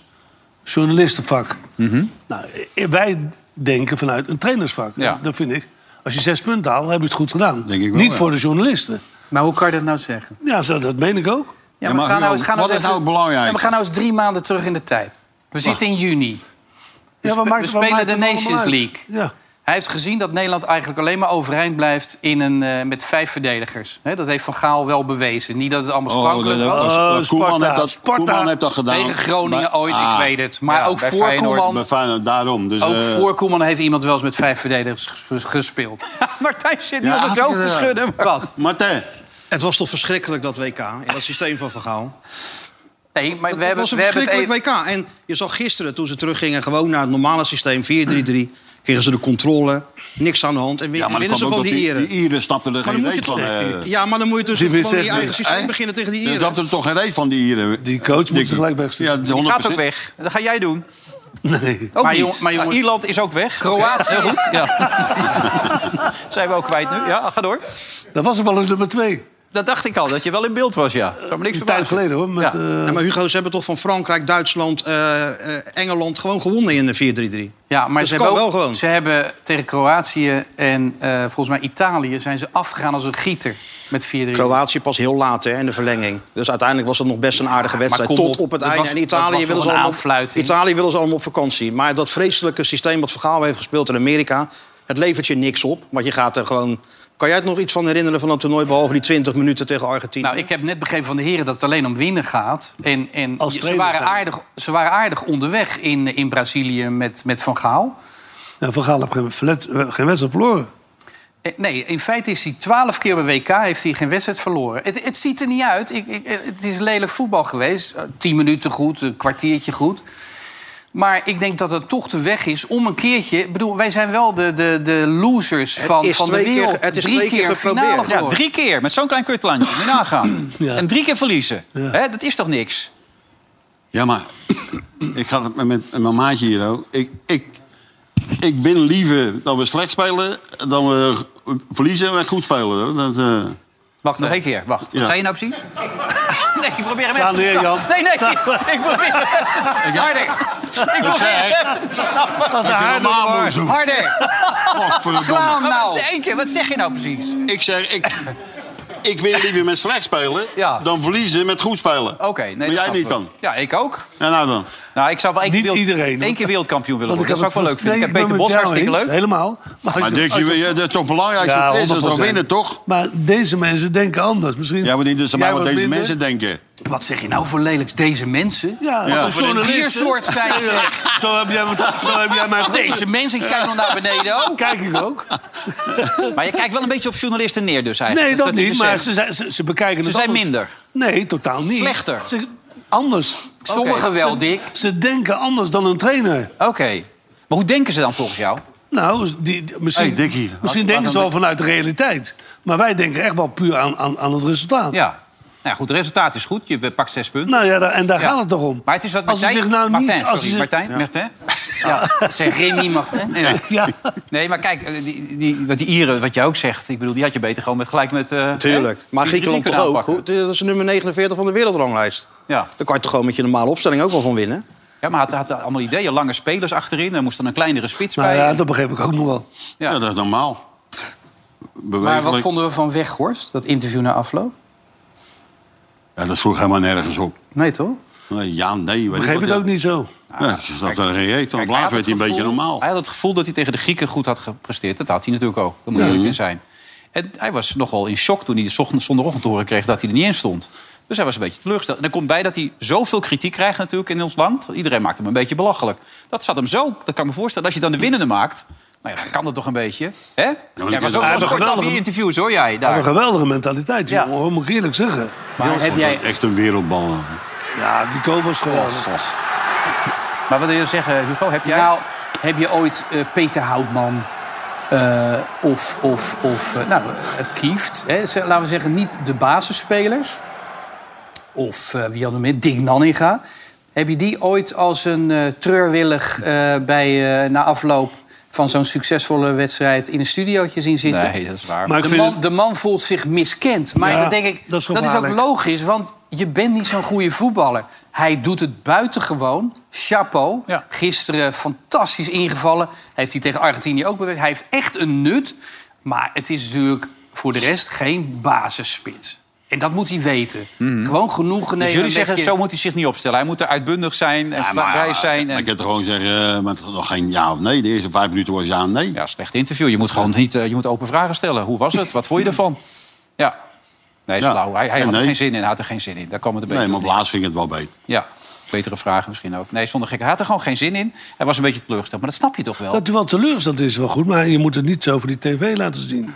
S4: journalistenvak.
S8: Mhm.
S4: Nou, eh, wij denken vanuit een trainersvak.
S8: Ja.
S4: Dat vind ik. Als je zes punten haalt, heb je het goed gedaan.
S5: Denk ik wel,
S4: Niet
S5: ja.
S4: voor de journalisten.
S3: Maar hoe kan je dat nou zeggen?
S4: Ja, zo, dat meen ik ook.
S3: Ja,
S5: Ja,
S3: maar
S5: maar
S3: ga nou
S5: Hugo,
S3: eens, ga nou
S5: wat
S3: eens
S5: is nou
S3: even-
S5: belangrijk?
S3: Ja, maar ga nou eens drie maanden terug in de tijd. We zitten in juni. We,
S4: Ja,
S3: spe-
S4: wat maakt-
S3: we
S4: wat
S3: spelen
S4: maakt
S3: de
S4: het allemaal
S3: Nations
S4: uit?
S3: League.
S4: Ja.
S3: Hij heeft gezien dat Nederland eigenlijk alleen maar overeind blijft in een, eh, met vijf verdedigers. Hè, dat heeft Van Gaal wel bewezen. Niet dat het allemaal sprankelend
S5: dat-
S3: was.
S5: dat-
S4: Oh,
S5: dat- Koeman
S4: Sparta,
S5: heeft dat-
S4: Sparta.
S5: Koeman heeft dat gedaan.
S3: Tegen Groningen
S5: Maar-
S3: ooit,
S5: Ah,
S3: ik weet het. Maar
S8: Ja,
S3: ook
S8: bij
S3: voor
S8: Feyenoord
S3: Koeman,
S5: Maar fijn, daarom. Dus,
S3: ook
S5: eh,
S3: voor Koeman heeft iemand wel eens met vijf verdedigers ges- gespeeld.
S8: Martijn zit nu
S5: Ja,
S8: op het hoofd te
S5: ja.
S8: schudden. maar-
S3: Wat?
S5: Martijn,
S9: Het was toch verschrikkelijk, dat WK, in dat systeem van Van Gaal.
S3: Nee, maar
S9: Dat
S3: we hebben,
S9: was een
S3: we hebben het
S9: verschrikkelijk
S3: even-
S9: WK. En je zag gisteren, toen ze teruggingen gewoon naar het normale systeem, 4-3-3... kregen ze de controle, niks aan de hand. En, win-
S5: ja,
S9: en
S5: maar
S9: winnen
S5: dat
S9: ze
S5: komt
S9: van
S5: ook
S9: die
S5: dat
S9: Ieren.
S5: Die Ieren snapten er
S9: Maar dan
S5: geen
S9: moet je
S5: reet van.
S9: [laughs] toch-
S5: eh.
S9: ja, maar dan moet je dus
S4: Die
S9: gewoon
S4: wist
S9: je
S4: het
S9: eigen
S4: niet,
S9: systeem
S5: hè?
S9: beginnen tegen die
S5: Die
S9: Ieren.
S5: snapten er toch geen reet van, die Ieren.
S4: Die coach moet ze
S5: Dikkie.
S4: gelijk wegsturen.
S5: Ja,
S8: Die
S5: 100%.
S8: gaat ook weg. Dat ga jij doen.
S4: [laughs] Nee.
S8: Ook
S3: Maar
S8: niet.
S3: jong- maar jongens-
S8: Nou, Ierland is ook weg.
S3: Kroatië.
S8: Heel goed. Ja. Zijn we ook kwijt nu? Ja, ga door.
S4: Dat was er wel eens nummer twee.
S8: Dat dacht ik al, dat je wel in beeld was, ja. Zou me niks
S4: Een tijd
S8: verbazen.
S4: geleden hoor. Met,
S8: Ja.
S4: eh,
S9: Ja, maar Hugo, ze hebben toch van Frankrijk, Duitsland, eh, eh, Engeland gewoon gewonnen in de 4-3-3.
S3: Ja, maar
S9: Dus
S3: ze
S9: kan
S3: hebben, ook-
S9: wel gewoon.
S3: ze hebben tegen Kroatië en eh, volgens mij Italië... zijn ze afgegaan als een gieter met 4-3.
S9: Kroatië pas heel laat hè, in de verlenging. Dus uiteindelijk was dat nog best een aardige wedstrijd.
S3: kom
S9: Tot
S3: op,
S9: op het
S3: dat
S9: einde.
S3: was-
S9: en
S3: dat was
S9: Italië willen,
S3: toch
S9: ze
S3: een
S9: allemaal,
S3: aanfluiting?
S9: Italië willen ze allemaal op vakantie. Maar dat vreselijke systeem wat Vergaal heeft gespeeld in Amerika... het levert je niks op. Want je gaat er gewoon... Kan jij het nog iets van herinneren van dat toernooi... behalve die 20 minuten tegen Argentinië?
S3: Nou, ik heb net begrepen van de heren dat het alleen om winnen gaat. En, en
S4: Als
S3: ze,
S4: trainer
S3: waren
S4: zijn.
S3: aardig, ze waren aardig onderweg in, in Brazilië met, met Van Gaal.
S4: ja, van Gaal heeft geen, verlet- geen wedstrijd verloren.
S3: Eh, Nee, in feite is hij twaalf keer bij WK heeft hij geen wedstrijd verloren. Het, het ziet er niet uit. Ik, ik, eh, het is lelijk voetbal geweest. Eh, Tien minuten goed, een kwartiertje goed. Maar ik denk dat het toch de weg is om een keertje... Ik bedoel, wij zijn wel de, de, de losers van,
S9: is
S3: van de
S9: twee keer-
S3: wereld.
S9: het is
S3: drie
S9: twee keer
S3: keer
S9: geprobeerd.
S3: finale
S8: Ja,
S3: verloren.
S8: drie keer met zo'n klein kutlandje. Moet je nagaan.
S4: [clears throat]
S8: En drie keer verliezen. Hè, dat is toch niks?
S5: Ja, maar ik ga het met, met mijn maatje hier ook. Ik, ik, ik win liever dat we slecht spelen dan we verliezen en goed spelen. Hoor. Dat, eh,
S8: Wacht, nog één keer. Wacht. Wat
S5: Ja.
S8: zei je nou precies? Nee, ik probeer hem
S4: Sla
S8: even te
S4: neer,
S8: snappen.
S4: Jan.
S8: Nee, nee. Ik probeer hem. Harder. Ik probeer hem even te snappen.
S4: Dat is haar
S5: normaal moet doen.
S8: Harder.
S5: Godverdomme.
S8: Sla hem nou. Wat is één keer? Wat zeg je nou precies?
S5: Ik zeg, ik, ik win liever met slecht spelen
S8: Ja.
S5: dan verliezen met goed spelen.
S8: Oké. nee,
S5: maar
S8: dat
S5: jij
S8: snap
S5: niet
S8: ik.
S5: dan?
S8: Ja, ik ook.
S5: Ja, nou dan.
S8: Nou, ik zou wel één keer,
S4: Niet
S8: wereld-
S4: iedereen, hoor.
S8: één keer wereldkampioen willen worden. Dat
S4: heb
S8: zou ik wel leuk
S4: het
S8: vinden. Ik heb
S4: volstrekt
S8: Peter
S4: met
S8: Bos
S4: jou
S8: hartstikke
S4: eens,
S8: leuk.
S4: Helemaal. Maar, als
S5: Maar
S4: je-
S5: Dirk,
S4: als
S5: je,
S4: je-
S5: ja, dat is toch belangrijk?
S4: Ja,
S5: Ja, is toch
S4: 100%.
S5: winnen, toch?
S4: maar deze mensen denken anders. Misschien
S5: Ja, maar niet dus
S4: jij
S5: maar wat deze
S4: minder.
S5: mensen denken.
S3: Wat zeg je nou voor lelijks deze mensen?
S4: Ja, ja.
S3: Wat een diersoort
S4: [laughs]
S3: zijn ze.
S4: Zo heb jij, me- zo heb jij mij
S3: Deze mensen, ik kijk nog naar beneden ook.
S4: [laughs] Kijk ik ook.
S8: Maar je kijkt wel een beetje op journalisten neer dus eigenlijk.
S4: Nee, dat
S8: is wat u
S4: niet.
S8: dus
S4: Maar
S8: zegt.
S4: ze, zijn- ze, ze bekijken
S8: Ze
S4: het
S8: zijn
S4: anders.
S8: minder.
S4: Nee, totaal niet.
S8: Slechter.
S4: Ze- anders.
S3: Sommigen wel,
S4: Ze-
S3: Dick.
S4: Ze denken anders dan een trainer.
S8: Oké. Maar hoe denken ze dan volgens jou?
S4: Nou, die, die- misschien,
S5: Hey, Dickie.
S4: misschien
S5: Laat-
S4: denken
S5: laat
S4: ze
S5: hem-
S4: wel vanuit de realiteit. Maar wij denken echt wel puur aan, aan, aan het resultaat.
S8: Ja. Nou ja, goed, het resultaat is goed. Je pakt zes punten.
S4: Nou ja, daar, en daar
S8: Ja.
S4: gaat het toch om.
S8: Maar het is wat
S4: als ze
S8: Martijn...
S4: zich nou niet...
S8: Martijn,
S4: als ze
S8: sorry,
S4: zich-
S8: Martijn, Martijn. Ja, zeg.
S3: Remy mag, hè?
S8: Nee,
S4: [laughs] Ja.
S8: nee, maar kijk, eh, die, die, wat die Ieren, wat jij ook zegt... Ik bedoel, die had je beter gewoon met gelijk met... eh,
S9: Tuurlijk.
S8: hè,
S9: Maar
S8: die drie
S9: Griekenland toch
S8: kunnen
S9: ook?
S8: aanpakken.
S9: Hoe- Dat is nummer 49 van de wereldranglijst.
S8: Ja.
S9: Daar kan je toch gewoon met je normale opstelling ook wel van winnen?
S8: ja, maar had, had allemaal ideeën. Lange spelers achterin. Er moest dan een kleinere spits
S4: Nou
S8: bij.
S4: ja, dat begreep ik ook nog wel.
S8: Ja.
S5: Ja, dat is normaal.
S3: Maar wat
S5: Bewegelijk.
S3: vonden we van Weghorst, dat interview na afloop?
S5: Ja, dat sloeg helemaal nergens op.
S3: Nee, toch?
S5: Nee, Eh, ja, nee. Weet
S4: Begreep
S5: ik
S4: het
S5: wat.
S4: ook niet zo.
S5: Ja, ze zat er geen reet aan.
S8: Ah, Kijk, hij
S5: Laat
S8: had
S5: werd hij
S8: het
S5: een beetje
S8: gevoel-
S5: normaal.
S8: Hij had het gevoel dat hij tegen de Grieken goed had gepresteerd. Dat had hij natuurlijk ook. Daar moet je
S5: Mhm.
S8: eerlijk in zijn. En hij was nogal in shock toen hij de ochtend, zondagochtend te horen kreeg dat hij er niet in stond. Dus hij was een beetje teleurgesteld. En er komt bij dat hij zoveel kritiek krijgt natuurlijk in ons land. Iedereen maakt hem een beetje belachelijk. Dat zat hem zo. Dat kan ik me voorstellen. Als je dan de winnende maakt, nou ja, dan kan dat toch een beetje. Hè?
S5: is-
S8: Jij was ook
S4: hij
S8: wel
S4: was
S8: kort
S4: geweldig.
S8: aan die interviews, hoor jij.
S4: Wat een
S8: Daar.
S4: geweldige mentaliteit,
S8: Ja.
S4: jongen, hoor, moet ik eerlijk zeggen.
S3: Maar heb jij,
S5: Echt een wereldbal.
S4: Ja, die koop was geweldig.
S8: Maar wat wil je zeggen, Hugo? Heb jij...
S3: nou, heb je ooit eh, Peter Houtman eh, of, of, of eh, nou, eh, Kieft, hè? Ze- laten we zeggen, niet de basisspelers... of eh, wie hadden we meer, Dick Nanninga... heb je die ooit als een eh, treurwillig eh, bij, eh, na afloop van zo'n succesvolle wedstrijd... in een studiootje zien zitten?
S8: Nee, dat is waar.
S4: Maar ik
S3: De
S4: vind
S3: man, de man voelt zich miskend. Maar
S4: Ja,
S3: dat denk ik,
S4: dat
S3: dat
S4: is
S3: is, ook
S4: gevaarlijk.
S3: logisch, want je bent niet zo'n goede voetballer. Hij doet het buitengewoon. Chapeau.
S8: Ja.
S3: Gisteren fantastisch ingevallen. Heeft hij tegen Argentinië ook bewerkt. Hij heeft echt een nut. Maar het is natuurlijk voor de rest geen basisspits. En dat moet hij weten. Gewoon genoegen nemen.
S8: dus jullie
S3: met
S8: zeggen,
S3: je-
S8: zo moet hij zich niet opstellen. Hij moet er uitbundig zijn en vrij zijn.
S5: maar
S8: En...
S5: ik kan toch gewoon zeggen, eh, met nog geen ja of nee. De eerste vijf minuten was ja of nee.
S8: Ja, slecht interview. Je moet gewoon niet, eh, je moet open vragen stellen. Hoe was het? Wat vond je ervan? Ja. Nee, is
S5: Ja.
S8: flauw. Hij, hij
S5: En
S8: had er
S5: nee.
S8: geen zin in. Hij had er geen zin in. Daar kwam het een beetje
S5: nee, maar
S8: op
S5: op
S8: neer.
S5: laatst ging het wel beter.
S8: Ja, betere vragen misschien ook. Nee, zonder gek. Hij had er gewoon geen zin in. Hij was een beetje teleurgesteld. Maar dat snap je toch wel?
S4: Dat u wel teleurgesteld is, wel goed. Maar je moet het niet zo voor die tv laten zien.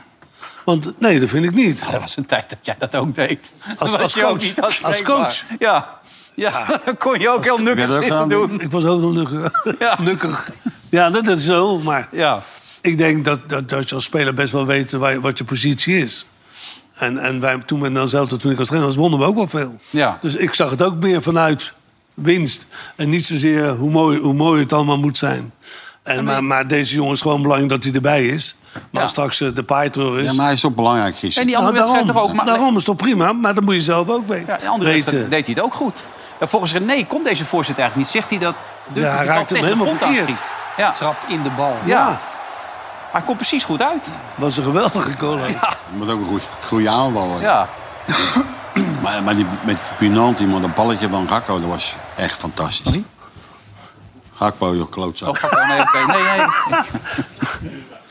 S4: Want nee, dat vind ik niet.
S8: Er was een tijd dat jij dat ook deed.
S4: Als-
S8: Dat was
S4: als
S8: je ook
S4: coach.
S8: niet
S4: Als
S8: aanspreekbaar.
S4: coach.
S8: Ja. Ja, [laughs] dan kon je ook heel nukkig
S5: Heb jij dat ook gedaan?
S8: zitten doen.
S4: Ik was ook wel nukkig.
S8: Ja.
S4: [laughs] nukkig. Ja, dat dat is zo. Maar
S8: Ja.
S4: ik denk dat, dat, dat je als speler best wel weet waar je- wat je positie is. En, en wij, toen, we dan zelf, toen ik als trainer was, wonnen we ook wel veel.
S8: Ja.
S4: Dus ik zag het ook meer vanuit winst. En niet zozeer hoe mooi, hoe mooi het allemaal moet zijn. En, maar, maar deze jongen is gewoon belangrijk dat hij erbij is. Maar als straks eh, de paai terug is...
S5: Ja, maar hij is toch belangrijk gisteren.
S8: Dus- En die andere
S4: Nou,
S8: wedstrijd
S4: daarom,
S8: toch ook. Maar
S4: daarom is het toch prima, maar dat moet je zelf ook weten.
S8: Ja, in andere
S4: weten.
S8: wedstrijden deed hij het ook goed. En volgens René komt deze voorzitter eigenlijk niet. Zegt hij dat Dumfries
S4: Ja, hij
S8: de bal
S4: raakt hem
S8: tegen de
S4: helemaal
S8: grond
S4: verkeerd.
S8: aanschiet. Ja.
S3: trapt in de bal.
S8: Ja. Hij komt precies goed uit.
S4: was een geweldige goal. ook.
S5: Je moet ook een goeie- goede aanval hebben.
S8: Ja.
S5: Maar, maar die, met Pinant, die man, dat balletje van Gakko, dat was echt fantastisch.
S8: Wie?
S5: Gakpo, joh, klootzak.
S8: Oh, fuck, nee, oké. nee, nee.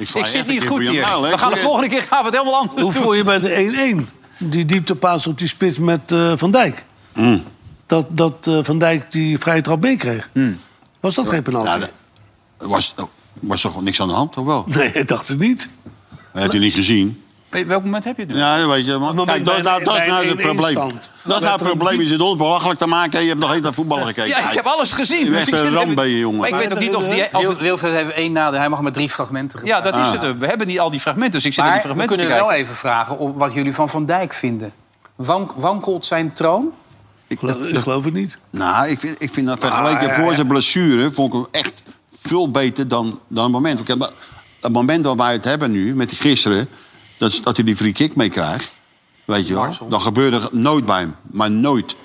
S5: sla je
S8: Ik zit
S5: echt een
S8: niet
S5: keer
S8: goed
S5: voor je
S8: hier.
S5: muil, hè.
S8: We gaan de
S5: Goeie-
S8: volgende keer gaan we het helemaal anders
S4: Hoe
S8: doen.
S4: voel je bij de 1-1? Die dieptepaas op die spits met eh, Van Dijk. Dat, dat eh, Van Dijk die vrije trap meekreeg.
S8: Mm.
S4: Was dat geen penalty?
S5: Ja, dat- oh. er was, er was toch niks aan de hand, toch wel?
S4: Nee, [laughs] ik dacht het niet.
S5: Dat heb je niet gezien.
S8: Op welk moment heb je het nu?
S5: Ja, dat weet je. Maar,
S4: moment
S5: kijk, dat,
S4: bij
S5: nou,
S4: een-
S5: dat
S4: bij
S5: is nou
S4: een
S5: het probleem. Dat
S4: 1-1
S5: is
S4: stand.
S5: nou
S4: Werd
S5: het
S4: er een
S5: probleem.
S4: diep-
S5: Je zit ons belachelijk te maken. en Je hebt nog even naar voetballen gekeken.
S8: Ja, ik heb alles gezien.
S5: Je
S8: Dus
S5: bent
S8: ik
S5: een
S8: zit er-
S5: ramp bij je, jongen.
S8: Maar ik weet ook niet of die... of-
S3: Wil- Wilfred heeft één nadeel. Hij mag maar drie fragmenten
S8: ja,
S3: gebruiken.
S8: dat is het. hem. We hebben niet al die fragmenten, dus ik zit naar die
S3: maar we
S8: fragmenten
S3: kunnen
S8: te kijken.
S3: wel even vragen of, wat jullie van Van Dijk vinden. Wank- wankelt zijn troon?
S4: Ik geloof, ik geloof het niet.
S5: Nou, ik vind, ik vind dat
S8: Nou,
S5: vergeleken voor zijn blessure... vond ik hem echt veel beter dan, dan het moment. Ik heb, maar- het moment waar wij het hebben nu, met die gisteren... dat, is- dat hij die free kick mee krijgt, weet je wel... dan gebeurde er nooit bij hem. Maar nooit.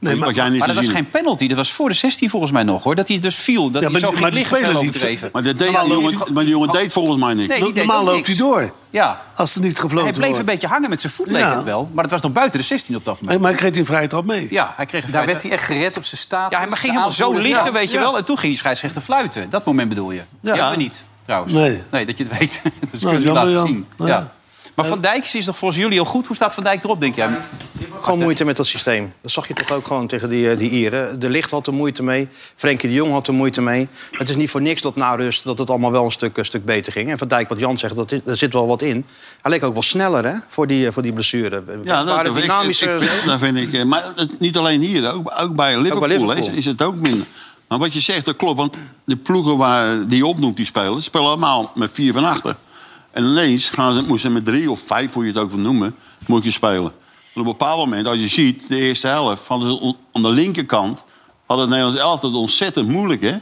S5: Nee,
S4: maar-
S5: wat jij niet
S8: Maar dat was
S5: gezien
S8: geen penalty. Dat was voor de 16 volgens mij nog, hoor. Dat hij dus viel. Dat
S4: Ja,
S8: hij
S4: maar
S8: zo
S4: die-
S8: ging
S4: maar die
S8: liggen veel
S4: speler die-
S8: overdreven.
S5: hebt. Maar, dat deed, die jongen, maar die jongen deed volgens mij niks.
S8: Nee, die deed
S4: Normaal
S8: ook
S4: loopt
S8: niks.
S4: hij door.
S8: Ja.
S4: Als er niet
S8: Hij
S4: gefloten
S8: bleef
S4: wordt.
S8: een beetje hangen met zijn voet, leek
S4: Ja.
S8: het wel. Maar het was nog buiten de 16 op dat moment.
S4: Maar hij kreeg die vrije trap mee.
S8: Ja, hij kreeg een
S3: Daar
S8: vrije
S3: werd hij echt gered op zijn staat.
S8: Ja, hij ging helemaal zo liggen, weet je wel. En toen ging die scheidsrechter fluiten. Dat moment bedoel je. Ja.
S4: Ja.
S8: hebben we niet, trouwens.
S4: Nee.
S8: dat je het weet. [laughs] dus kunnen we
S4: jammer,
S8: laten
S4: Jan.
S8: zien.
S4: Ja.
S8: Ja. Maar Van Dijk is nog volgens jullie heel goed. Hoe staat Van Dijk erop, denk jij?
S9: Ik heb ook gewoon moeite met dat systeem. Dat zag je toch ook gewoon tegen die, eh, die Ieren. De Licht had er moeite mee. Frenkie de Jong had er moeite mee. Het is niet voor niks dat na rust dat het allemaal wel een stuk, een stuk beter ging. En Van Dijk, wat Jan zegt, dat is- daar zit wel wat in. Hij leek ook wel sneller hè, voor, die, eh, voor die blessure.
S5: Ja, dat,
S9: Waren
S5: dat,
S9: dynamische-
S5: ik, ik vind, dat vind ik. eh, Maar het- niet alleen hier, ook, ook bij Liverpool,
S9: Liverpool.
S5: hè, Is, het ook minder. Maar wat je zegt, dat klopt. Want de ploegen waar, die je opnoemt, die spelers, spelen allemaal met vier van achter. En ineens gaan ze, moeten ze met drie of vijf, hoe je het ook wil noemen, moet je spelen. En op een bepaald moment, als je ziet, de eerste helft, hadden ze on- aan de linkerkant, had het Nederlands elftal het ontzettend moeilijk, hè?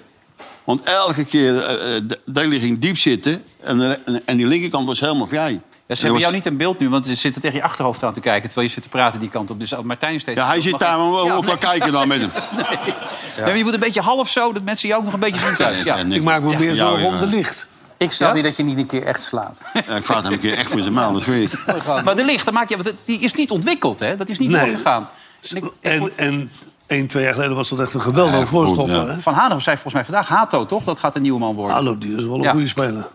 S5: Want elke keer, eh, eh, de Deli ging diep zitten en, de- en, en die linkerkant was helemaal vrij.
S8: Ja,
S5: En
S8: ze hebben
S5: was-
S8: jou niet in beeld nu, want ze zitten tegen je achterhoofd aan te kijken... terwijl je zit te praten die kant op. Dus Martijn is steeds...
S5: Ja, hij zit daar, maar we
S8: [laughs] Ja,
S5: we
S8: nee.
S5: gaan kijken dan met hem.
S8: Nee, maar je moet een beetje half zo, dat mensen jou ook nog een beetje zien thuis. Ja.
S4: Ik maak me meer
S5: zo
S4: zorgen om de licht.
S3: Ik snap
S8: Ja?
S3: niet dat je niet een keer echt slaat.
S5: Ik ga hem een keer echt voor zijn maal, dat
S8: [laughs]
S5: weet ik.
S8: Maar de licht, dan maak je, want die is niet ontwikkeld, hè? Dat is niet
S4: Nee.
S8: doorgegaan. En ik- ik-
S4: En, en één, twee jaar geleden was dat echt een geweldige voorstopper.
S5: ja.
S4: hè?
S8: Van Hanegem zei volgens mij vandaag Hato, toch? Dat gaat een nieuwe man worden.
S4: Hallo, die is wel een
S8: Ja.
S4: goede speler.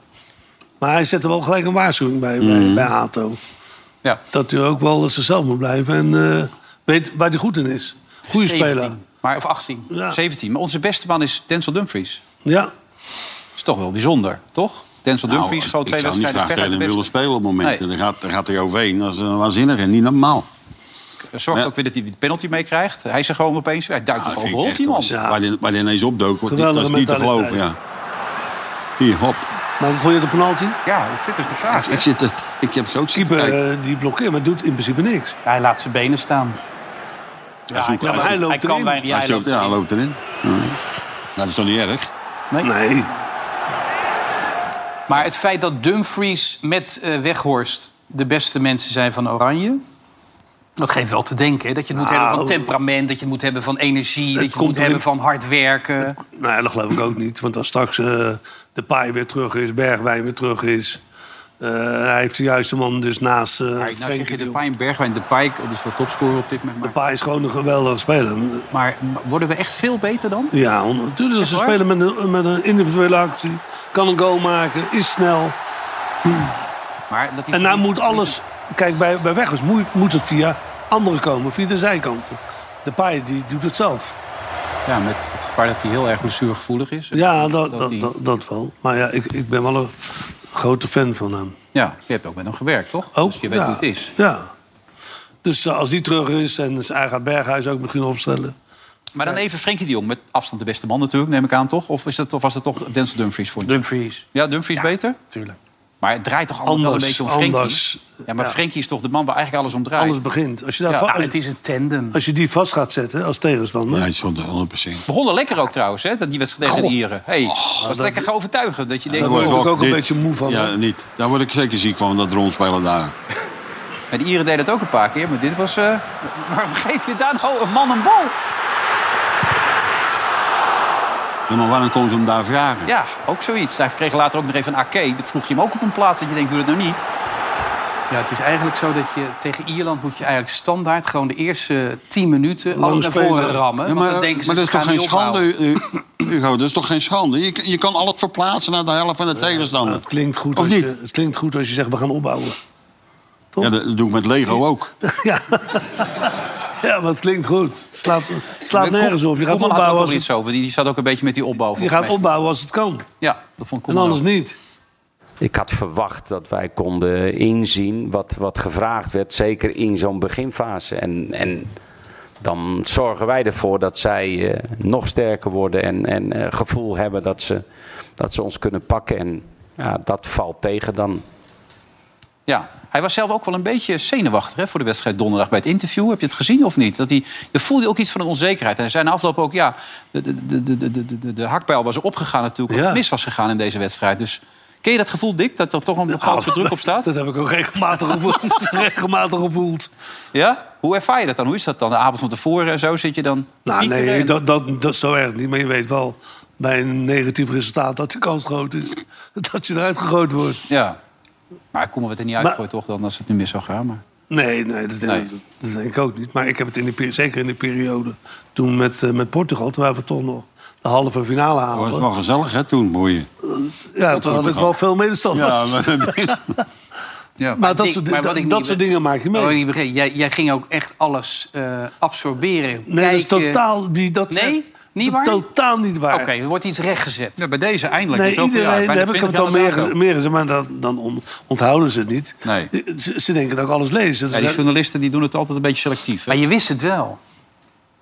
S4: Maar hij zette wel gelijk een waarschuwing bij, bij, bij Ato.
S8: Ja.
S4: Dat hij ook wel zichzelf moet blijven en eh, weet waar hij goed in is. Goede
S8: 17,
S4: speler.
S8: Maar,
S3: Of
S8: of
S3: 18.
S4: Ja.
S8: 17. Maar onze beste man is Denzel Dumfries.
S4: Ja.
S8: Is toch wel bijzonder, toch? Denzel Dumfries
S5: Nou,
S8: schoot twee
S5: ik zou niet
S8: wedstrijden Dus
S5: graag
S8: ver uit
S5: tegen
S8: de
S5: hem willen
S8: beste.
S5: spelen op momenten.
S8: Nee.
S5: Dan, gaat, dan gaat hij overheen. Dat is een waanzinnige, niet normaal.
S8: Zorgt
S5: Ja.
S8: ook weer dat hij de penalty meekrijgt. Hij is er gewoon opeens... Hij duikt
S4: Nou,
S5: Dat
S8: toch
S5: vind ik
S8: overal op,
S5: echt
S8: die man.
S5: was- Waar hij waar hij ineens opdook, was niet- dat
S4: Geweldige
S5: is niet te
S4: mentaliteit.
S5: geloven. Ja. Hier, hop.
S4: Maar vond je de penalty?
S8: Ja, dat zit er te vragen.
S4: eh,
S5: Ik, zit het, ik heb groot zitten
S4: Keeper
S5: kijken.
S4: eh, die blokkeert, maar doet in principe niks.
S3: Hij laat zijn benen staan.
S5: Hij zoekt-
S4: eh, Ja, maar hij
S5: hij
S4: loopt
S3: hij kan
S4: erin.
S3: bijna ja, hij
S5: zoekt-
S3: loopt
S5: Ja, hij
S3: erin.
S5: loopt erin. Ja. Nou, Dat is toch niet erg?
S4: Nee.
S3: Maar het feit dat Dumfries met eh, Weghorst de beste mensen zijn van Oranje... Dat geeft wel te denken. hè? Dat je het moet
S4: Nou.
S3: hebben van temperament, dat je het moet hebben van energie... dat je het
S4: komt
S3: moet
S4: erin.
S3: hebben van hard werken.
S4: Nou, ja, dat geloof ik ook niet. Want als straks eh, de paai weer terug is, Bergwijn weer terug is. eh, hij heeft de juiste man dus naast eh
S8: Maar nou zeg
S4: Frenkie
S8: je
S4: de
S8: de
S4: Jong.
S8: Pijn, Bergwijn, de Pijk. Dat is wel topscorer op dit
S4: De
S8: moment. Maar,
S4: paai is gewoon een geweldige speler.
S8: maar worden we echt veel beter dan?
S4: Ja, on- natuurlijk. Als ze
S8: waar?
S4: spelen met een, met een individuele actie. Kan een goal maken, is snel.
S8: Maar dat hij
S4: En nou moet alles... Kijk, bij, bij Weggers moet, moet het via anderen komen. Via de zijkanten. De paai die doet het zelf.
S8: Ja, met het gevaar dat hij heel erg blessuregevoelig is.
S4: Ja, dat, dat,
S8: hij-
S4: dat, dat wel. Maar ja, ik, ik ben wel een grote fan van hem.
S8: Ja, je hebt ook met hem gewerkt, toch?
S4: Ook?
S8: dus je weet
S4: ja.
S8: hoe het is.
S4: Ja. Dus eh, als die terug is en zijn eigen Berghuis ook misschien opstellen.
S8: Maar dan even Frenkie de Jong, met afstand de beste man natuurlijk, neem ik aan, toch? Of, is dat, of was dat toch Denzel Dumfries voor je?
S3: Dumfries,
S8: Ja, Dumfries beter?
S3: natuurlijk.
S8: Maar het draait toch allemaal wel
S4: Anders,
S8: een beetje om
S4: anders.
S8: Frenkie? Ja, maar Frenkie is toch de man waar eigenlijk alles om draait?
S4: Alles begint. Als je, daar
S8: Ja,
S4: va-
S8: nou,
S4: als,
S3: het is een tandem.
S4: als je die vast gaat zetten als tegenstander.
S5: Nee, het is 100%.
S8: Begonnen lekker ook trouwens, hè? Dat die wedstrijd tegen de Ieren. Hey,
S4: Oh,
S8: was lekker gaan overtuigen. Dat je denkt,
S5: Daar word
S4: word ik
S5: wel
S4: ook een beetje moe van,
S5: Ja,
S4: hoor.
S5: niet. Daar word ik zeker ziek van, dat rondspelen daar.
S8: Maar de Ieren deden het ook een paar keer, maar dit was... eh, [laughs] waarom geef je daar nou een man een bal?
S5: Ja, maar waarom komen ze hem daar vragen?
S8: Ja, ook zoiets. Hij kreeg later ook nog even een AK. Dat vroeg je hem ook op een plaats dat je denkt, doe dat nou niet.
S3: Ja, het is eigenlijk zo dat je tegen Ierland moet je eigenlijk standaard gewoon de eerste 10 minuten
S4: Lang
S3: alles naar
S4: spelen.
S3: voren rammen.
S5: Ja,
S3: want dan denken ze,
S5: maar
S3: ze
S5: dat is toch
S3: gaan
S5: geen
S3: niet opbouwen.
S5: schande, Hu- Hugo? Dat is toch geen schande? Je, je kan alles verplaatsen naar de helft van de
S4: Maar
S5: tegenstander.
S4: het, klinkt goed
S5: Of
S4: als
S5: niet?
S4: je, het klinkt goed als je zegt, we gaan opbouwen.
S5: Ja, dat doe ik met Lego ook.
S4: Ja. ja, maar het klinkt goed. Het slaat, het slaat
S8: Maar Kom-
S4: nergens op. Je gaat,
S8: Koeman had
S4: opbouwen
S8: ook
S4: als
S8: wel iets
S4: het,
S8: zo. want Die, die zat ook een beetje met die opbouw.
S4: je
S8: volgens
S4: gaat
S8: mij.
S4: opbouwen als het kan.
S8: Ja, dat vond
S4: En
S8: Koeman
S4: anders
S8: ook.
S4: niet.
S2: Ik had verwacht dat wij konden inzien wat, wat gevraagd werd, zeker in zo'n beginfase. En, en dan zorgen wij ervoor dat zij eh, nog sterker worden en, en eh, gevoel hebben dat ze, dat ze ons kunnen pakken. En ja, dat valt tegen dan.
S8: Ja. Hij was zelf ook wel een beetje zenuwachtig hè, voor de wedstrijd donderdag bij het interview. Heb je het gezien of niet? Dat hij, je voelde ook iets van een onzekerheid. En hij zei na afloop ook, ja, de, de, de, de, de, de- de, de hakpijl was opgegaan natuurlijk.
S4: Ja.
S8: Wat mis was gegaan in deze wedstrijd. Dus ken je dat gevoel, Dick? Dat er toch een bepaald soort druk op
S4: [laughs]
S8: staat?
S4: Dat heb ik ook regelmatig gevoeld. [laughs] regelmatig gevoeld.
S8: Ja? Hoe ervaar je dat dan? Hoe is dat dan? De avond van tevoren en zo zit je dan
S4: Nou,
S8: piekeren
S4: nee,
S8: en-
S4: dat, dat, dat is zo erg niet. Maar je weet wel bij een negatief resultaat dat de kans groot is [laughs] dat je eruit gegooid wordt.
S8: Ja. Maar Koeman werd er niet
S4: Maar-
S8: uitgegooid toch dan als het nu mis zou gaan. Maar...
S4: Nee, nee, dat, denk-
S8: Nee.
S4: Dat, dat denk ik ook niet. Maar ik heb het in de, peri- zeker in de periode toen met, eh, met Portugal, toen waren we toch nog de halve finale
S5: Oh, Dat was
S4: haalden.
S5: wel gezellig, hè, toen, mooi.
S4: [laughs] Ja, toen had ik wel veel medestanders.
S5: maar,
S8: Ja.
S4: Maar dat
S3: ik-
S4: soort,
S3: maar wat
S4: dat,
S3: ik niet
S4: dat soort
S3: be-
S4: dingen maak je mee.
S3: Oh, niet begrepen. Jij, jij ging ook echt alles eh, absorberen.
S4: Nee, dat is
S8: eh,
S3: kijken.
S4: totaal, wie dat
S3: Nee?
S4: zegt,
S3: Niet waar?
S4: Totaal niet waar.
S3: Oké, er wordt iets rechtgezet.
S8: Ja, bij deze eindelijk.
S4: Nee,
S8: zoveel jaar,
S4: iedereen, daar
S8: bijna
S4: heb ik het
S8: 20
S4: al
S8: jaar
S4: meer,
S8: later.
S4: meer gezegd, maar dat, dan on- onthouden ze het niet.
S8: Nee.
S4: Ze, ze denken dat ik alles lees. Dus Dat,
S8: Ja,
S4: is-
S8: die journalisten die doen het altijd een beetje selectief. Hè?
S3: Maar je wist het wel.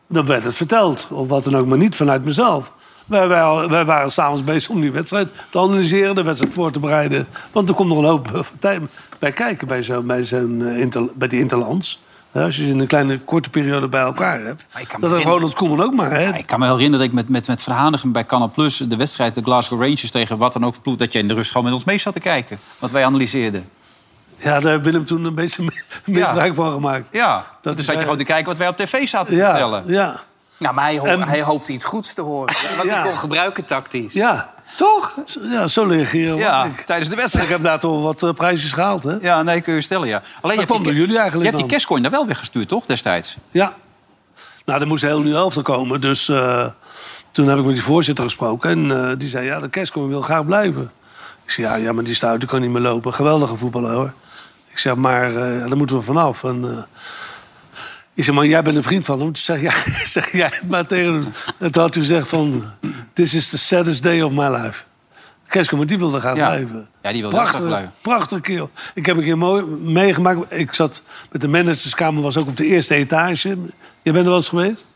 S4: dan werd het verteld, of wat dan ook, maar niet vanuit mezelf. Wij, wij, wij waren s'avonds bezig om die wedstrijd te analyseren, de wedstrijd voor te bereiden. Want er komt nog een hoop eh, tijd bij kijken bij, zo, bij, zo'n, eh, inter- bij die interlands. Hè, als je ze in een kleine, korte periode bij elkaar hebt.
S8: Maar ik kan
S4: Dat had
S8: me herinneren-
S4: Ronald Koeman ook maar. Hè?
S8: Ja, ik kan me wel herinneren dat ik met, met, met Verhanigem bij Canal Plus... de wedstrijd de Glasgow Rangers tegen wat dan ook voor ploeg... dat jij in de rust gewoon met ons mee zat te kijken. Wat wij analyseerden.
S4: Ja, daar heeft Willem toen een beetje misbruik van gemaakt.
S8: Ja,
S4: Dat
S8: dat
S4: is
S8: dus zat
S4: eigenlijk-
S8: je gewoon te kijken wat wij op tv zaten te
S4: Ja,
S8: vertellen.
S4: ja,
S3: Nou, maar hij, ho-
S4: En-
S3: hij hoopte iets goeds te
S4: [laughs]
S3: horen. Want
S4: Ja.
S3: hij kon gebruiken tactisch.
S4: ja. Toch? Ja, zo reageren we.
S8: Ja,
S4: Ik,
S8: tijdens de
S4: ik
S8: wedstrijd.
S4: heb daar toch wat eh, prijsjes gehaald, hè?
S8: Ja, nee, kun je stellen, ja. Alleen je hebt
S4: kwam
S8: die-
S4: door jullie eigenlijk
S8: Je hebt die
S4: dan.
S8: cashcoin daar wel weer gestuurd, toch, destijds?
S4: Ja. Nou, er moest heel nieuw elftal komen. Dus eh, toen heb ik met die voorzitter gesproken. En eh, die zei, ja, de kerstkoning wil graag blijven. Ik zei, ja, ja, maar die stuit, die kan niet meer lopen. Geweldige voetballer, hoor. Ik zeg, maar eh, ja, daar moeten we vanaf. En, eh ik zeg, maar jij bent een vriend van hem. Toen zeg, ja, zeg jij [laughs] het maar tegen hem. En toen had hij gezegd van... This is the saddest day of my life. Kerstkoning, die wilde graag
S8: Ja.
S4: blijven.
S8: Ja, die wilde ook
S4: prachtig,
S8: graag blijven.
S4: Prachtig kerel. Ik heb een keer mooi meegemaakt. Ik zat met de managerskamer, was ook op de eerste etage. Je bent er wel eens geweest?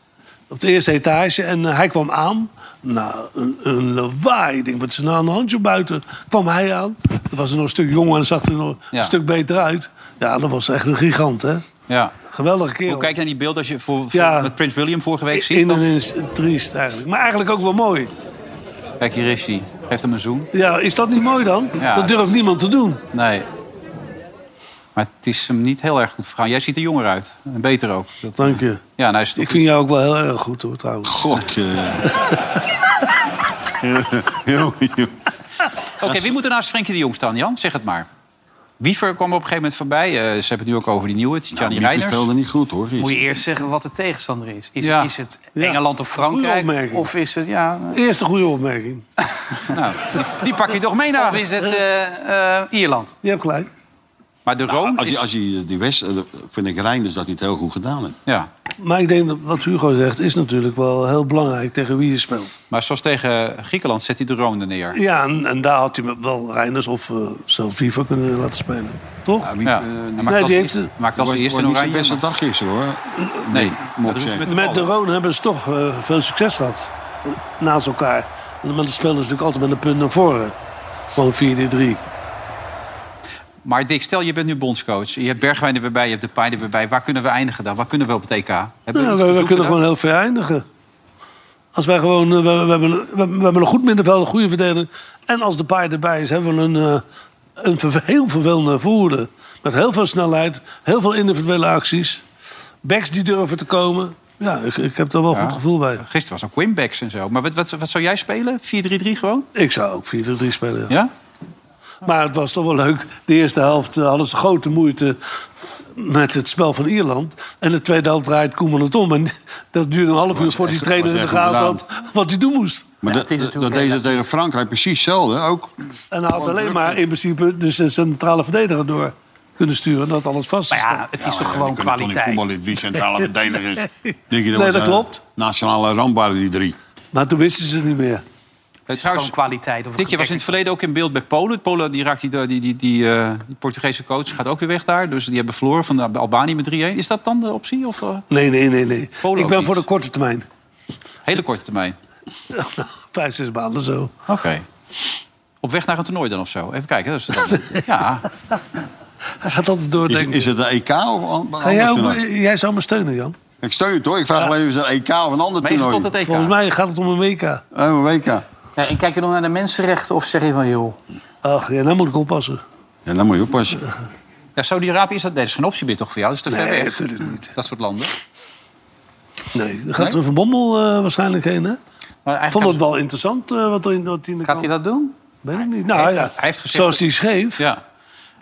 S4: Op de eerste etage. En eh, hij kwam aan. Nou, een, een lawaai. Ik denk, wat is er nou aan de handje buiten? Kwam hij aan. Dan was hij nog een stuk jonger en zag er nog
S8: Ja.
S4: een stuk beter uit. Ja, dat was echt een gigant, hè?
S8: Ja.
S4: Geweldige kerel.
S8: Hoe kijk je naar die beeld als je voor, voor-
S4: Ja.
S8: met Prins William vorige week ziet?
S4: in en
S8: Dan-
S4: in is triest eigenlijk. Maar eigenlijk ook wel mooi.
S8: Kijk, hier is hij. Geeft hem een zoen.
S4: Ja, is dat niet mooi dan?
S8: Ja.
S4: Dat durft niemand te doen.
S8: Nee. Maar het is hem niet heel erg goed vergaan. Jij ziet er jonger uit. En beter ook. Dat-
S4: Dank je.
S8: Ja, nou is het
S4: Ik
S8: ook
S4: vind
S8: iets-
S4: jou ook wel heel erg goed hoor, trouwens.
S5: [laughs] God.
S3: [laughs]
S5: eh.
S8: Oké, wie moet er naast Frenkie de Jong staan, Jan? Zeg het maar. Wiever kwam er op een gegeven moment voorbij. Eh, ze hebben het nu ook over die nieuwe, Gianni
S5: Die
S8: Reiners.
S5: speelde niet goed hoor.
S3: Moet je eerst zeggen wat de tegenstander is. Is,
S8: Ja.
S3: is het
S4: Ja.
S3: Engeland of
S4: Goeie
S3: Frankrijk?
S4: opmerking.
S3: Of is het, ja,
S4: Eerste goede opmerking.
S8: Nou, die, die pak je toch mee
S3: of
S8: naar.
S3: is het eh, eh, Ierland?
S4: Je hebt gelijk.
S8: Maar de Roon
S5: Nou, Als je,
S8: is...
S5: als je die West, eh, vind ik Reinders dat hij het heel goed gedaan heeft.
S8: Ja,
S4: Maar ik denk dat wat Hugo zegt is natuurlijk wel heel belangrijk tegen wie je speelt.
S8: maar zoals tegen Griekenland zet hij de Roon er neer.
S4: Ja, en, en daar had hij wel Reinders of eh zelf Viva kunnen laten spelen. Toch?
S5: Ja, wie-
S8: Ja.
S5: eh,
S8: Hij
S5: die-
S8: maakt
S4: die
S8: als,
S4: heeft
S8: hij-
S4: het-
S8: maakt als
S5: was-
S8: hij eerst
S5: was
S8: in
S5: niet zijn
S8: oranje.
S5: beste dag gisteren hoor. Nee,
S8: dat
S5: moet ik
S8: doen ze
S5: zeggen.
S8: met-
S4: Met de Roon hebben ze toch eh, veel succes gehad. eh, Naast elkaar. En dan spelen ze natuurlijk altijd met een punt naar voren. Gewoon 4-3.
S8: Maar Dick, stel je bent nu bondscoach. Je hebt Bergwijn er weer bij, je hebt de Pijn er weer bij. Waar kunnen we eindigen dan? Waar kunnen we op het EK? Hebben we iets
S4: Nou,
S8: te
S4: we, we
S8: zoeken
S4: kunnen
S8: daar?
S4: gewoon heel ver eindigen. Als wij gewoon, eh, we, we, hebben, we, we hebben een goed middenveld, een goede verdeling. En als de paai erbij is, hebben we een, eh, een verve- heel vervelende voerder. Met heel veel snelheid, heel veel individuele acties. Backs die durven te komen. Ja, ik, ik heb daar wel een goed gevoel bij.
S8: Gisteren was ook Winbacks en zo. Maar wat, wat, wat zou jij spelen? 4-3-3 gewoon?
S4: Ik zou ook 4-3 spelen. ja.
S8: Ja?
S4: Maar het was toch wel leuk. De eerste helft eh, hadden ze grote moeite met het spel van Ierland. En de tweede helft draait Koeman het om. En [laughs] dat duurde een half uur voor die
S5: echt-
S4: trainer in
S5: was
S4: de
S5: echt
S4: gaten had wat hij doen moest.
S5: Maar dat- dat dat deed ze tegen Frankrijk precies hetzelfde. Ook
S4: En hij had alleen maar in principe de c- centrale verdediger door kunnen sturen. En dat alles vast te
S3: Maar ja,
S4: staan.
S3: het is toch gewoon kwaliteit?
S5: voetbal in drie centrale verdedigers.
S4: [laughs]
S5: Denk je,
S4: Nee,
S5: was,
S4: dat
S5: eh,
S4: klopt.
S5: Nationale rambaarden die drie.
S4: Maar toen wisten ze het niet meer.
S3: Het is
S8: Trouwens,
S3: gewoon kwaliteit. Of
S8: Dikje was in het verleden ook in beeld bij Polen. Polen die raakt die, die, die, die, eh, die Portugese coach gaat ook weer weg daar. Dus die hebben verloren van de Albanië met 3-1. Is dat dan de optie? Of eh,
S4: Nee, nee, nee, nee.
S8: Polen
S4: ik ben
S8: ook
S4: voor de
S8: niet.
S4: korte termijn.
S8: hele korte termijn?
S4: Vijf, zes maanden zo.
S8: Oké. Op weg naar een toernooi dan of zo? Even kijken. Dat is het dan. ja.
S4: Hij gaat altijd door.
S5: Is,
S4: denken.
S5: is het de EK of een ander
S4: Ga jij, ook,
S5: toernooi?
S4: jij zou me steunen, Jan.
S5: Ik steun het hoor. Ik vraag alleen of het een EK of een ander
S8: Maar is het
S5: toernooi.
S8: tot het EK?
S4: Volgens mij gaat het om een WK.
S5: Oh, een WK. Ja,
S3: Ja, en kijk je nog naar de mensenrechten of zeg je van joh...
S4: Ach, ja, nou moet ik oppassen.
S5: dan moet je oppassen.
S8: Ja, Saudi-Arabië is dat... Nee, dat is geen optie meer toch voor jou? Dat is te ver
S4: Nee,
S8: weg.
S4: natuurlijk niet.
S8: Dat soort landen.
S4: Nee, daar gaat er Van Bommel eh, waarschijnlijk heen, hè?
S8: Maar eigenlijk
S4: Ik vond het wel interessant eh, wat er in, wat in de
S3: Gaat hij dat doen?
S4: Weet ik niet. Nou, ja,
S8: hij heeft gezegd
S4: zoals hij schreef.
S8: Ja.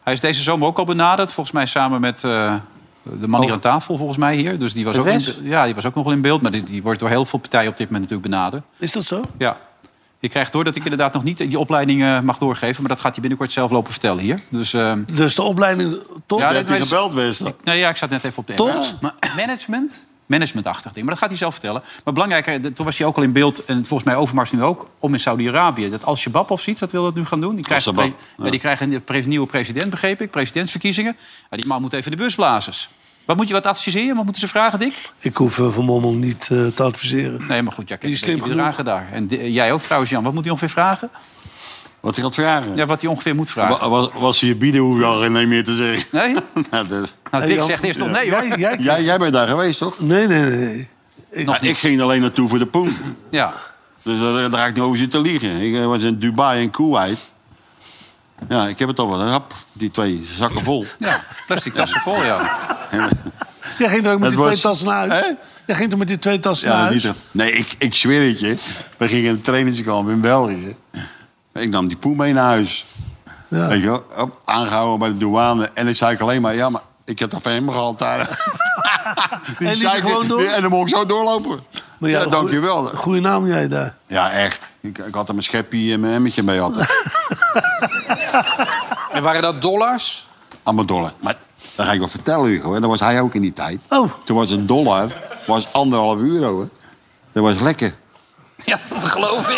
S8: Hij is deze zomer ook al benaderd, volgens mij samen met eh, de man hier aan tafel, volgens mij hier. Dus die was,
S3: De
S8: ook in,
S3: Wes?
S8: ja, die was ook nog wel in beeld, maar die, die wordt door heel veel partijen op dit moment natuurlijk benaderd.
S4: Is dat zo?
S8: Ja. Je krijgt door dat ik inderdaad nog niet die opleiding eh, mag doorgeven. Maar dat gaat hij binnenkort zelf lopen vertellen hier. Dus, eh,
S4: Dus de opleiding tot...
S8: Ja,
S5: Dat hij
S8: is-
S5: gebeld werd.
S8: nou ja, ik zat net even op de
S4: Tot?
S8: app. Maar,
S3: [laughs] Management?
S8: managementachtig ding. Maar dat gaat hij zelf vertellen. Maar belangrijker, de- toen was hij ook al in beeld, en volgens mij Overmars nu ook, om in Saudi-Arabië. Dat als Shabab of zoiets, dat wil dat nu gaan doen. Die krijgen,
S5: Al-Shabaab,
S8: pre- ja, die krijgen een pre- nieuwe president, begreep ik, presidentsverkiezingen. Ja, die man moet even de busblazers. Wat moet je wat adviseren? Wat moeten ze vragen, Dick?
S4: Ik hoef eh, Van Bommel niet eh, te adviseren.
S8: Nee, maar goed, jij
S4: Die is
S8: kent een beetje
S4: slim
S8: de dragen daar. En di- eh, jij ook trouwens, Jan. Wat moet hij ongeveer vragen?
S5: Wat ik had vragen.
S8: Ja, wat hij ongeveer moet vragen.
S5: Wa- Was, was je bieden hoef je al geen nee meer te zeggen.
S8: Nee?
S5: [laughs] Nou, dus.
S8: Nou,
S4: Hey,
S8: Dick
S4: Jan,
S8: zegt eerst nog nee, hoor.
S4: Jij, jij-
S5: jij, jij bent daar geweest, toch?
S4: Nee, nee, nee. Ik,
S5: Nou, ik ging alleen naartoe voor de poen.
S8: Ja.
S5: Dus daar, daar ga ik niet over zitten liegen. Ik eh, was in Dubai en Kuwait. Ja, ik heb het al wel. Hap, die twee zakken vol.
S8: ja. Plastic tassen vol, ja.
S4: jij ging er ook
S5: Het
S4: met die twee
S5: was-
S4: tassen naar huis.
S5: Hè?
S4: Jij ging er met die twee tassen
S5: Ja,
S4: naar huis.
S5: niet te- nee, ik, ik zweer het je. We gingen een trainingskamp in België. Ik nam die poen mee naar huis.
S4: Ja.
S5: Weet je wel, hop, aangehouden bij de douane. En ik zei ik alleen maar, ja, maar ik heb toch van hem gehad
S4: [laughs]
S5: daar. die
S4: liep je
S5: zei ik-
S4: gewoon door?
S5: En dan mocht ik zo doorlopen.
S4: Maar
S5: ja,
S4: jij-
S5: dankjewel.
S4: goeie- Goeie naam jij daar.
S5: Ja, echt. Ik, ik had er mijn scheppie en mijn emmetje mee
S4: [laughs]
S5: altijd.
S3: En waren dat dollars?
S5: Aan mijn dollar. Maar dat ga ik wel vertellen, Hugo. En dat was hij ook in die tijd.
S4: Oh.
S5: Toen was een dollar was anderhalf euro. Hè. Dat was lekker.
S3: Ja, dat geloof ik.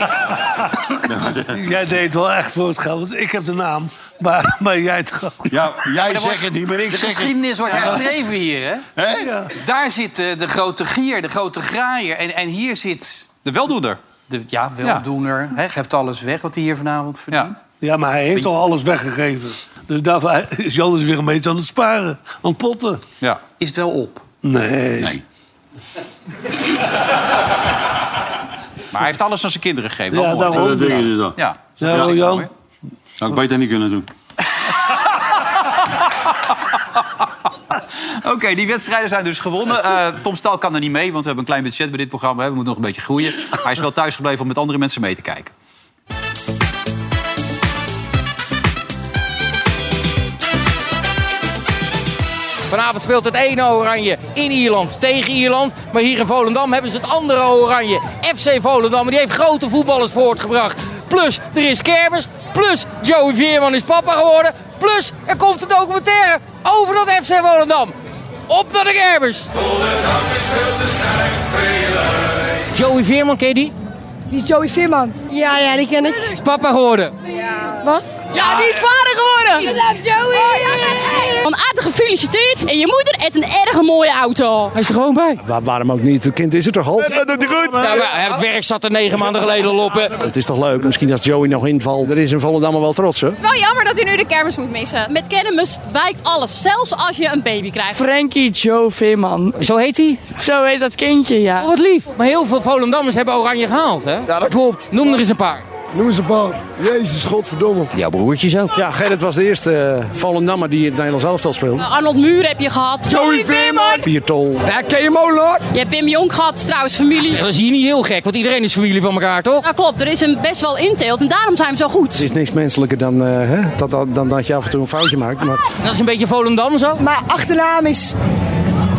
S4: Jij deed wel echt voor het geld. want ik heb de naam, maar, maar jij toch ook. [laughs]
S5: Ja, jij zegt het niet, maar ik
S3: De
S5: zeg het.
S3: geschiedenis wordt herschreven hier, hè?
S5: Hè?
S3: Daar zit eh, de grote gier, de grote graaier. En, en hier zit
S8: De weldoener.
S3: de ja, weldoener. Hè, geeft alles weg wat hij hier vanavond verdient.
S4: Ja, maar hij heeft al alles weggegeven. Dus daarvoor is Jan dus weer een beetje aan het sparen. Aan het potten.
S8: Ja.
S3: Is het wel op?
S4: Nee.
S5: Nee.
S8: Maar hij heeft alles aan zijn kinderen gegeven. Wel
S4: Ja,
S8: mooi.
S4: daarom.
S5: Dat dingen ze dan.
S8: Ja.
S4: Ja,
S8: Dat is
S4: Jan.
S8: mooi, hè?
S5: Zou ik beter niet kunnen doen.
S8: Oké, die wedstrijden zijn dus gewonnen. Eh, Tom Staal kan er niet mee, want we hebben een klein budget bij dit programma. hè. We moeten nog een beetje groeien. Maar Hij is wel thuisgebleven om met andere mensen mee te kijken.
S10: Vanavond speelt het ene oranje in Ierland tegen Ierland. Maar hier in Volendam hebben ze het andere oranje. FC Volendam. En die heeft grote voetballers voortgebracht. Plus er is kermis. Plus Joey Veerman is papa geworden. Plus er komt een documentaire over dat FC Volendam. Op naar de kermis. Joey Veerman, ken je die?
S11: Wie is Joey Veerman? Ja, ja, die ken ik.
S10: Is papa geworden.
S11: Wat? Ja, die is vader geworden! Ik love Joey! Van aardig gefeliciteerd en je moeder heeft een erg mooie auto.
S10: Hij is er gewoon bij.
S7: waarom ook niet? Het kind is er toch al? Dat doet hij goed.
S10: Nou, maar het werk zat er negen maanden geleden al op. hè.
S7: Het is toch leuk? Misschien als Joey nog invalt. Er is in Volendam wel trots, hè?
S11: Het is wel jammer dat hij nu de kermis moet missen. Met kermis wijkt alles, zelfs als je een baby krijgt. Frankie Joe Veerman.
S10: Zo heet hij.
S11: Zo heet dat kindje,
S10: Oh,
S11: ja.
S10: wat lief. Maar heel veel Volendammers hebben oranje gehaald, hè?
S7: Ja, dat klopt.
S10: Noem er eens een paar.
S7: Noem eens een paar. Jezus, godverdomme.
S10: Jouw broertje zo.
S7: Ja, Gerrit was de eerste eh, Volendammer die in het Nederlands elftal speelde.
S11: Nou, Arnold Muur heb je gehad. Joey Veerman!
S7: Piertol.
S11: Je hebt Wim Jong gehad, trouwens, familie.
S10: Dat is hier niet heel gek, want iedereen is familie van elkaar, toch?
S11: Nou klopt, er is een best wel inteelt en daarom zijn we zo goed.
S7: Het is niks menselijker dan, eh, hè, dat, dat, dan dat je af en toe een foutje maakt. Maar
S10: Dat is een beetje Volendam zo.
S11: Mijn achternaam is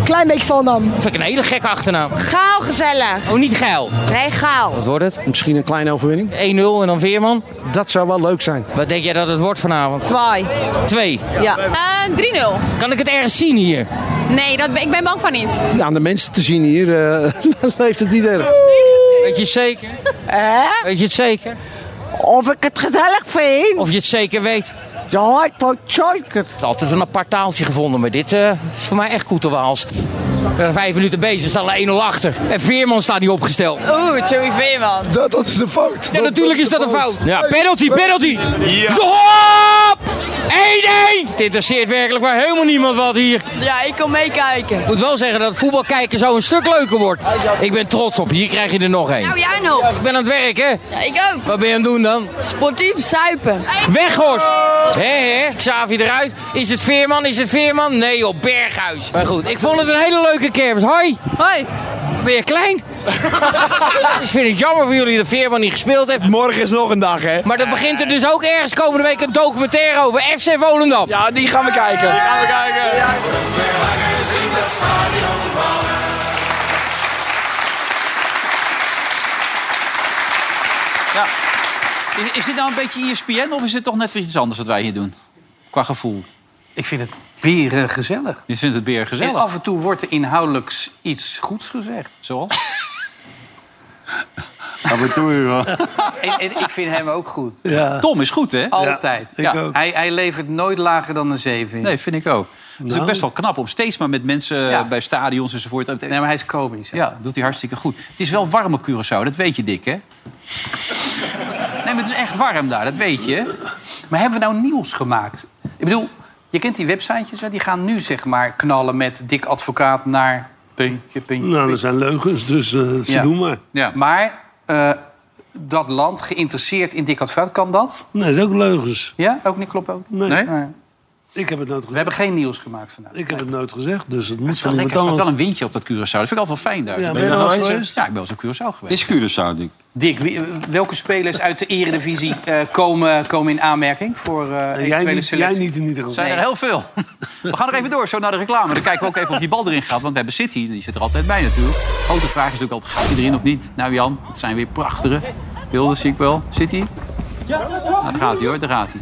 S11: Klein beetje Volendam.
S10: Vind ik een hele gekke achternaam.
S11: Gaal gezellig.
S10: Oh, niet geil.
S11: Nee, gaal.
S10: Wat wordt het? 1-0
S7: misschien een kleine overwinning.
S10: en dan Veerman.
S7: Dat zou wel leuk zijn.
S10: Wat denk jij dat het wordt vanavond?
S11: Twaai.
S10: Twee.
S11: Ja. 3-0.
S10: Kan ik het ergens zien hier?
S11: Nee, dat, ik ben bang van niet.
S7: Aan de mensen te zien hier eh, [laughs] leeft het niet erg.
S10: Weet je het zeker? Weet je het zeker?
S11: Of ik het gezellig vind.
S10: Of je het zeker weet?
S11: Ja, ik vond het zeker.
S10: Ik heb altijd een apart taaltje gevonden, maar dit eh, is voor mij echt koeterwaals. We zijn vijf minuten bezig, staan er 1-0 achter. En Veerman staat niet opgesteld.
S11: Oeh, Joey Veerman.
S7: Dat, is de fout.
S10: Ja, natuurlijk is dat een fout. Ja, penalty, penalty. Hop! 1-1! Het interesseert werkelijk maar helemaal niemand wat hier.
S11: Ja, ik kom meekijken.
S10: Ik moet wel zeggen dat voetbal kijken zo een stuk leuker wordt. Ik ben trots op je. Hier krijg je er nog één.
S11: Nou, jij nog.
S10: Ik ben aan het werk, hè?
S11: Ja, ik ook.
S10: Wat ben je aan het doen dan?
S11: Sportief zuipen.
S10: Weghorst! Hé, hé, Xavi eruit. Is het Veerman? Is het Veerman? Nee, op Berghuis. Maar goed, ik vond het een hele leuke kermis. Hoi!
S11: Hoi.
S10: Ben je klein? [laughs] dus vind ik jammer voor jullie dat Veerman niet gespeeld heeft.
S7: Morgen is nog een dag, hè?
S10: Maar er begint er dus ook ergens komende week een documentaire over FC Volendam.
S7: Ja, die gaan we kijken. Die gaan we kijken.
S8: Ja. Is, is dit nou een beetje ESPN of is het toch net weer iets anders wat wij hier doen? Qua gevoel.
S3: Ik vind het beren gezellig.
S8: Je vindt het beer gezellig.
S3: En af en toe wordt er inhoudelijk iets goeds gezegd.
S8: Zoals?
S5: Af en toe,
S8: [laughs]
S5: ja.
S3: En, en ik vind hem ook goed.
S4: Ja.
S8: Tom is goed,
S3: Oh.
S8: hè?
S3: Altijd.
S8: Ja, ik
S3: Ja.
S8: ook.
S3: Hij, hij levert nooit lager dan een 7 in.
S8: Nee, vind ik ook. Het is
S3: Nou.
S8: ook best wel knap om steeds maar met mensen eh, bij stadions enzovoort. Nee,
S3: maar hij is komisch.
S8: Ja, doet hij hartstikke goed. Het is wel warm op Curaçao, dat weet je, Dick, hè? Nee, maar het is echt warm daar, dat weet je.
S3: Maar hebben we nou nieuws gemaakt? Ik bedoel, je kent die websitejes wel? Die gaan nu zeg maar knallen met dik advocaat naar puntje, puntje,
S4: Nou, dat
S3: puntje.
S4: zijn leugens, dus eh, ze
S3: Ja.
S4: doen maar.
S3: Maar eh, dat land geïnteresseerd in dik advocaat, kan dat?
S4: Nee, dat is ook leugens.
S3: Ja, ook niet klopt ook.
S4: Nee.
S8: Ah,
S3: Nee.
S4: Ik heb het nooit
S3: We hebben geen nieuws gemaakt vandaag.
S4: Ik heb het nooit gezegd, dus het moet
S8: Het is wel
S4: van iemand
S8: lekker, er staat wel
S4: anders.
S8: een windje op dat Curaçao. Dat vind ik altijd wel fijn daar.
S4: Ja, ben
S5: je er wel eens
S4: geweest?
S8: Ja, ik ben wel eens op Curaçao geweest.
S5: Is Curaçao, Dick?
S3: Dick, wie- welke spelers uit de eredivisie eh, komen, komen in aanmerking voor eh
S4: En Jij
S3: eventuele
S4: niet, jij
S3: selectie?
S4: niet in ieder geval.
S8: zijn er heel veel. We gaan nog even door, zo naar de reclame. Dan kijken we ook even of die bal erin gaat. Want we hebben City, die zit er altijd bij natuurlijk. Grote vraag is natuurlijk altijd, gaat die erin of niet? Nou Jan, het zijn weer prachtige beelden, zie ik wel. City? Nou, daar gaat hij hoor, daar gaat hij.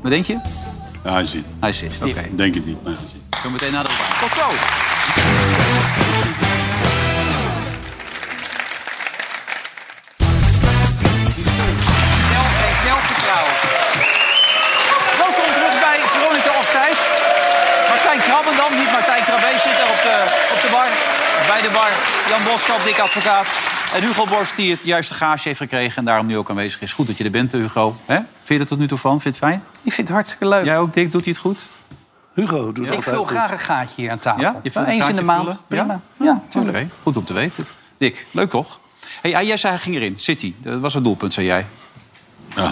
S8: Wat denk je?
S5: Ja, hij zit.
S8: Hij zit, oké.
S5: Denk het niet, maar hij zit.
S8: Zo meteen naar de reclame. Tot zo! Zelf- en zelfvertrouwen. Welkom terug bij Veronica Offside. Martijn Krabbendam, niet Martijn Krabbe, zit er op de, op de bar. Bij de bar, Jan Boskap, dik advocaat. En Hugo Borst, die het juiste gaasje heeft gekregen... en daarom nu ook aanwezig is. Goed dat je er bent, eh, Hugo. Hè? Vind je er tot nu toe van? Vind je het fijn?
S3: Ik vind het hartstikke leuk.
S8: Jij ook, Dick? Doet hij het goed?
S4: Hugo doet
S3: Ik
S4: altijd
S3: vul
S4: goed.
S3: graag een gaatje hier aan tafel.
S8: Ja? Je vult
S3: Nou,
S8: een
S3: eens in de
S8: gaatje
S3: maand.
S8: vullen?
S3: Prima. Ja,
S8: Oké,
S3: tuurlijk.
S8: goed om te weten. Dick, leuk toch? Hey, ah, jij zei hij ging erin. City, dat was het doelpunt, zei jij.
S5: Ja,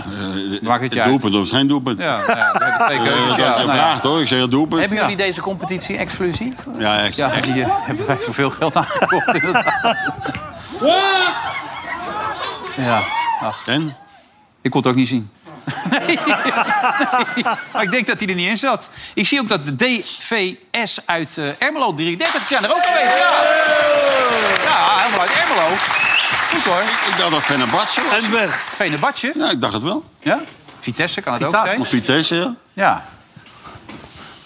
S5: eh,
S8: Maakt het je uit.
S5: doelpunt of geen doelpunt?
S8: Ja, ja, we hebben twee
S5: Eh,
S8: keuzes.
S5: dat
S8: Ja,
S5: je
S8: nou ja.
S5: vraagt hoor, ik zeg het doelpunt.
S3: Hebben jullie deze competitie exclusief?
S5: Ja, echt.
S8: Ja, die eh, hebben wij voor veel geld aangekocht. inderdaad. ja, ach,
S5: En?
S8: ik kon het ook niet zien. [laughs] Nee, nee. Maar ik denk dat hij er niet in zat. Ik zie ook dat de DVS uit eh, Ermelo 33 zijn er ook geweest. Ja, ja helemaal uit Ermelo. Goed hoor.
S5: Ik dacht dat Fenerbahce was.
S4: En weg.
S8: Venebadje.
S5: Ja, ik dacht het wel.
S8: Ja? Vitesse kan het ook
S3: Vitesse.
S8: zijn.
S5: Of Vitesse, ja.
S8: Ja,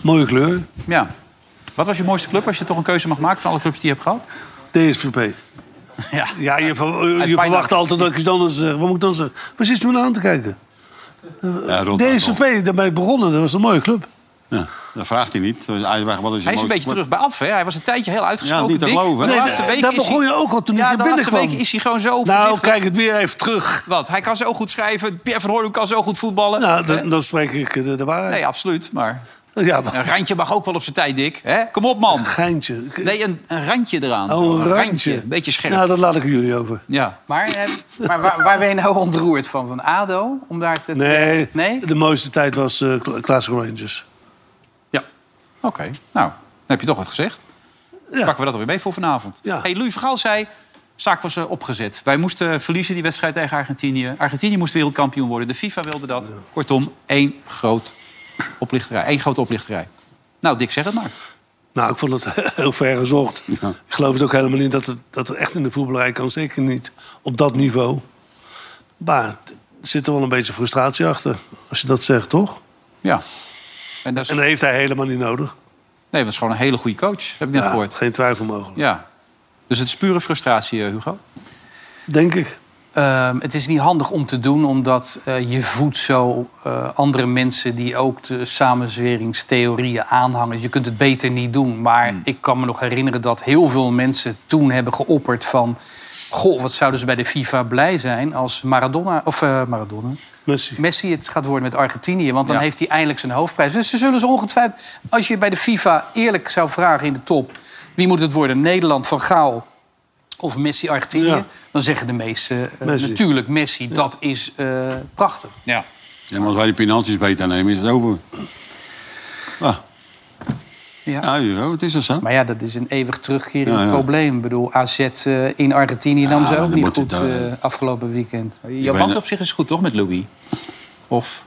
S4: Mooie kleur.
S8: ja. Wat was je mooiste club als je toch een keuze mag maken van alle clubs die je hebt gehad?
S4: DSVP.
S8: Ja.
S4: Ja, je, ver- je
S8: bijna-
S4: verwacht altijd dat ik iets anders zeg. Wat moet ik dan zeggen? Waar zit je me nou aan te kijken?
S5: ja rond
S4: DSVP, daar ben ik begonnen. Dat was een mooie club.
S5: Ja, dat vraagt hij niet. Hij, wat is je
S8: Hij is een
S5: mooiste-
S8: beetje terug bij af, hè? Hij was een tijdje heel uitgesproken.
S5: Ja, niet te
S8: dik.
S5: geloven, hè?
S8: De
S5: Nee,
S8: laatste
S4: daar-
S8: week
S4: daar
S8: is hij-
S4: begon je ook al toen ik
S8: ja,
S4: hier
S8: de laatste
S4: binnenkwam.
S8: week is hij gewoon zo
S4: Nou,
S8: voorzichtig.
S4: kijk het weer even terug.
S8: Want hij kan zo goed schrijven. Pierre van Hooydonk kan zo goed voetballen.
S4: Nou,
S8: Hè?
S4: dan, dan spreek ik de, de waarheid. Oh,
S8: Nee, absoluut. Maar
S4: Ja, maar-
S8: een randje mag ook wel op zijn tijd, Dick. Hè? Kom op, man.
S4: geintje.
S8: Nee, een, een randje eraan.
S4: Oh, een randje.
S8: Een beetje scherp.
S4: Nou, dat laat ik jullie over.
S8: Ja.
S3: Maar, eh, maar waar, waar ben je nou ontroerd van? Van ADO? Om daar te
S4: Nee,
S3: Nee?
S4: de mooiste tijd was eh, Cla- Classic Rangers.
S8: Oké, nou, dan heb je toch wat gezegd.
S4: Ja.
S8: Pakken we dat alweer mee voor vanavond.
S4: Ja.
S8: Hey, Louis Vergaal zei, zaak was eh, opgezet. Wij moesten verliezen die wedstrijd tegen Argentinië. Argentinië moest wereldkampioen worden. De FIFA wilde dat. Kortom, één groot oplichterij. Eén grote oplichterij. Nou, Dick, zeg het maar.
S4: Nou, ik vond het [laughs] heel ver gezocht. Ik geloof het ook helemaal niet dat het, dat het echt in de voetballerij kan. Zeker niet op dat niveau. Maar er zit er wel een beetje frustratie achter. Als je dat zegt, toch?
S8: Ja. En dat is,
S4: En dat heeft hij helemaal niet nodig.
S8: nee, dat is gewoon een hele goede coach. Heb ik net
S4: Ja,
S8: gehoord.
S4: Geen twijfel mogelijk.
S8: Ja. Dus het is pure frustratie, eh, Hugo.
S4: Denk ik.
S3: Ehm, het is niet handig om te doen, omdat eh, je voedt zo eh, andere mensen die ook de samenzweringstheorieën aanhangen. Dus Je kunt het beter niet doen. Maar ik kan me nog herinneren dat heel veel mensen toen hebben geopperd van. Goh, wat zouden ze bij de FIFA blij zijn als Maradona, of eh, Maradona,
S4: Messi.
S3: Messi het gaat worden met Argentinië. Want dan
S8: Ja.
S3: heeft hij eindelijk zijn hoofdprijs. Dus ze zullen ze ongetwijfeld... Als je bij de FIFA eerlijk zou vragen in de top... wie moet het worden, Nederland, Van Gaal of Messi, Argentinië...
S4: Ja.
S3: dan zeggen de meesten eh,
S4: Messi.
S3: natuurlijk Messi. Dat is eh, prachtig.
S8: Ja.
S5: Ja, maar als wij die penalties beter nemen, is het over. Ah.
S3: Ja.
S5: Ja, joh, het is er zo.
S3: Maar ja, dat is een eeuwig terugkerend
S5: Ja, ja.
S3: probleem. Ik bedoel, AZ eh, in Argentinië nam
S5: Ja,
S3: ze
S5: dan
S3: ook niet
S5: moet
S3: goed
S5: het, eh,
S3: eh, afgelopen weekend.
S8: Eh, Jouw
S5: ben-
S8: band op zich is goed, toch, met Louis? Of?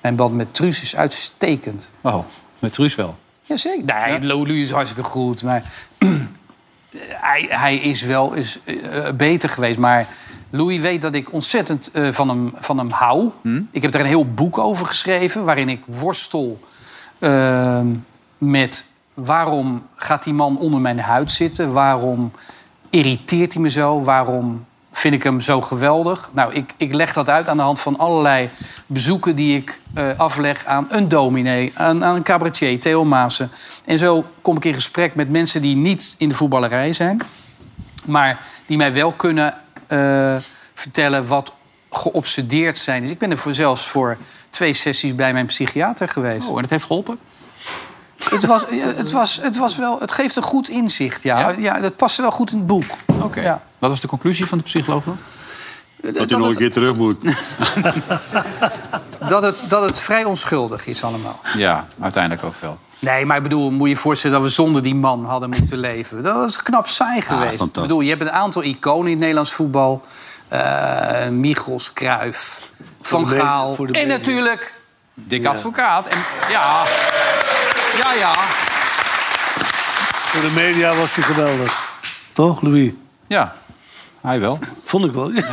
S3: Mijn band met Truus is uitstekend.
S8: Oh, met Truus wel.
S3: Jazeker. Nee, Lolu is hartstikke [clears throat] goed. Maar hij, hij is wel eens, eh, eh, beter geweest. Maar Louis weet dat ik ontzettend eh, van, hem, van hem hou. Ik heb daar een heel boek over geschreven... waarin ik worstel eh, met... waarom gaat die man onder mijn huid zitten? Waarom irriteert hij me zo? Waarom vind ik hem zo geweldig? Nou, ik, ik leg dat uit aan de hand van allerlei bezoeken die ik eh, afleg aan een dominee, aan, aan een cabaretier, Theo Maassen. En zo kom ik in gesprek met mensen die niet in de voetballerij zijn, maar die mij wel kunnen eh, vertellen wat geobsedeerd zijn. Dus ik ben er voor, zelfs voor twee sessies bij mijn psychiater geweest.
S8: Oh, en dat heeft geholpen?
S3: Het was, ja, het was, het was wel, het geeft een goed inzicht, ja. ja? dat past wel goed in het boek.
S8: Oké.
S3: Ja.
S8: Wat was de conclusie van de psycholoog dan?
S5: Dat hij nog een keer terug moet.
S3: Dat, het, dat het vrij onschuldig is allemaal.
S8: Ja, uiteindelijk ook wel.
S3: Nee, maar ik bedoel, moet je je voorstellen dat we zonder die man hadden moeten leven. Dat is knap saai geweest. ik
S5: Ah, fantastisch.
S3: bedoel, je hebt een aantal iconen in het Nederlands voetbal. Eh Michels, Kruif, Van
S4: de me-
S3: Gaal.
S4: voor de
S3: En
S4: media.
S3: natuurlijk
S8: Dik advocaat. En, ja. ja, ja,
S4: Voor de media was hij geweldig. Toch, Louis?
S8: ja. Hij [laughs] wel.
S4: Vond ik [laughs] wel. Ja.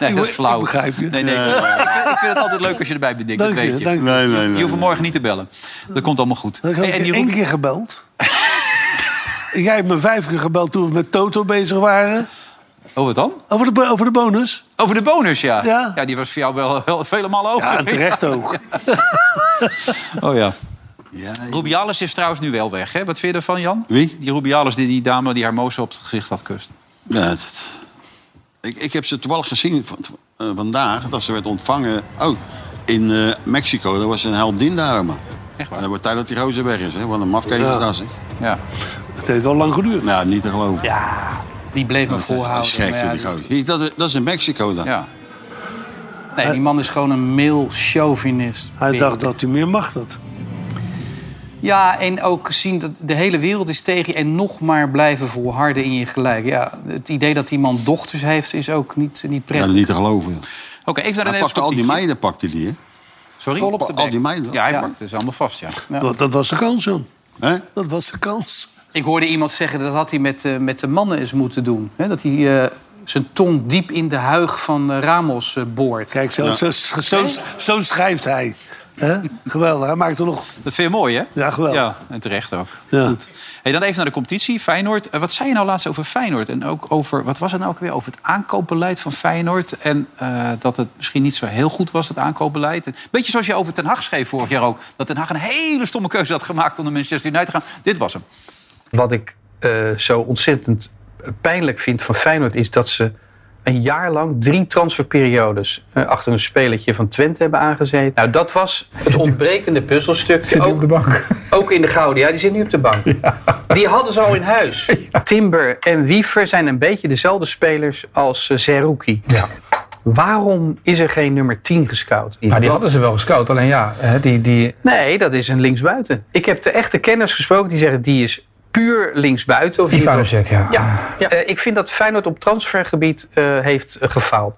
S8: Nee, dat is
S4: Ik
S8: flauw.
S4: begrijp je.
S8: Nee, nee, ik, ik vind, ik vind het altijd leuk als je erbij bent, Dick.
S4: Dank
S8: dat weet
S4: je,
S8: je.
S4: dank je.
S5: Nee, nee,
S8: Je
S5: nee.
S8: hoeft morgen niet te bellen. Dat komt allemaal goed.
S4: Dan heb
S8: Hey,
S4: ik
S8: en die
S4: één
S8: Roelof-
S4: keer gebeld. [laughs] Jij hebt me vijf keer gebeld toen we met Toto bezig waren.
S8: Oh, wat dan?
S4: Over de, bo- over de bonus.
S8: Over de bonus, ja.
S4: Ja.
S8: die was voor jou wel, wel [laughs] vele malen over.
S4: Ja, en terecht ook.
S8: Oh ja.
S5: Ja,
S8: Rubiales is trouwens nu wel weg, hè? Wat vind je ervan, Jan?
S5: Wie?
S8: Die Rubiales, die, die dame die haar moos op het gezicht had kust.
S5: Ja, dat- ik, ik heb ze toevallig gezien van, eh, vandaag dat ze werd ontvangen. Oh, in eh, Mexico. Dat was een heldin daar, man.
S8: Echt waar?
S5: En dat wordt tijd dat die gozer weg is, hè? Want een mafkees
S4: Ja.
S5: is dat, zeg.
S8: Ja.
S4: Het heeft al lang geduurd.
S5: Nou, niet te geloven.
S3: die bleef me
S5: dat is
S3: volhouden.
S5: gek,
S3: Maar ja,
S5: die gozer. Die- Dat, is- dat is in Mexico dan.
S8: ja.
S3: nee, die man is gewoon een male chauvinist.
S4: Hij dacht dat hij meer macht had.
S3: Ja, en ook zien dat de hele wereld is tegen je en nog maar blijven volharden in je gelijk. Ja, het idee dat die man dochters heeft is ook niet, niet
S5: Ja, dat
S3: prettig.
S5: is niet te geloven. joh.
S8: Oké, even naar de
S5: Hij pakte
S8: Nederlandse
S5: al die
S8: competitie.
S5: meiden, pakte die, hè?
S8: Sorry?
S3: Vol op de
S5: Al die
S3: bek.
S5: meiden.
S8: Ja, hij
S3: Ja.
S8: pakt dus allemaal vast, ja.
S3: Ja.
S4: Dat, dat was de kans, Jan.
S5: Hè?
S4: Dat was de kans.
S3: Ik hoorde iemand zeggen dat had hij met, eh, met de mannen eens moeten doen. Hè? Dat hij eh, zijn tong diep in de huig van eh, Ramos eh, boort.
S4: Kijk, zo, zo, zo, zo schrijft hij. Hè? Geweldig. Hij maakt er nog...
S8: Dat vind je mooi, hè?
S4: Ja, geweldig.
S8: Ja, en terecht ook.
S4: Ja.
S8: Goed. Hey, dan even naar de competitie. Feyenoord. Eh, wat zei je nou laatst over Feyenoord? En ook over, wat was het nou ook weer? Over het aankoopbeleid van Feyenoord. En eh, dat het misschien niet zo heel goed was, het aankoopbeleid. Een beetje zoals je over Ten Hag schreef vorig jaar ook. Dat Ten Hag een hele stomme keuze had gemaakt om naar Manchester United te gaan. Dit was hem.
S3: Wat ik eh, zo ontzettend eh, pijnlijk vind van Feyenoord is dat ze een jaar lang drie transferperiodes eh, achter een spelertje van Twente hebben aangezeten. Nou, dat was het ontbrekende puzzelstuk. Zit ook, op de bank. Ook in de Gouden, ja, die zit nu op de bank. Die hadden ze al in huis. Timber en Wiever zijn een beetje dezelfde spelers als eh, Zerouki. Waarom is er geen nummer 10 gescout?
S12: Maar die hadden ze wel gescout, alleen ja, hè, die, die,
S3: Nee, dat is een linksbuiten. Ik heb de echte kenners gesproken die zeggen die is puur linksbuiten. Of in
S12: die
S3: ieder geval-
S12: Ivanusek, ja.
S3: ja, ja. Eh, ik vind dat Feyenoord op transfergebied eh, heeft eh, gefaald.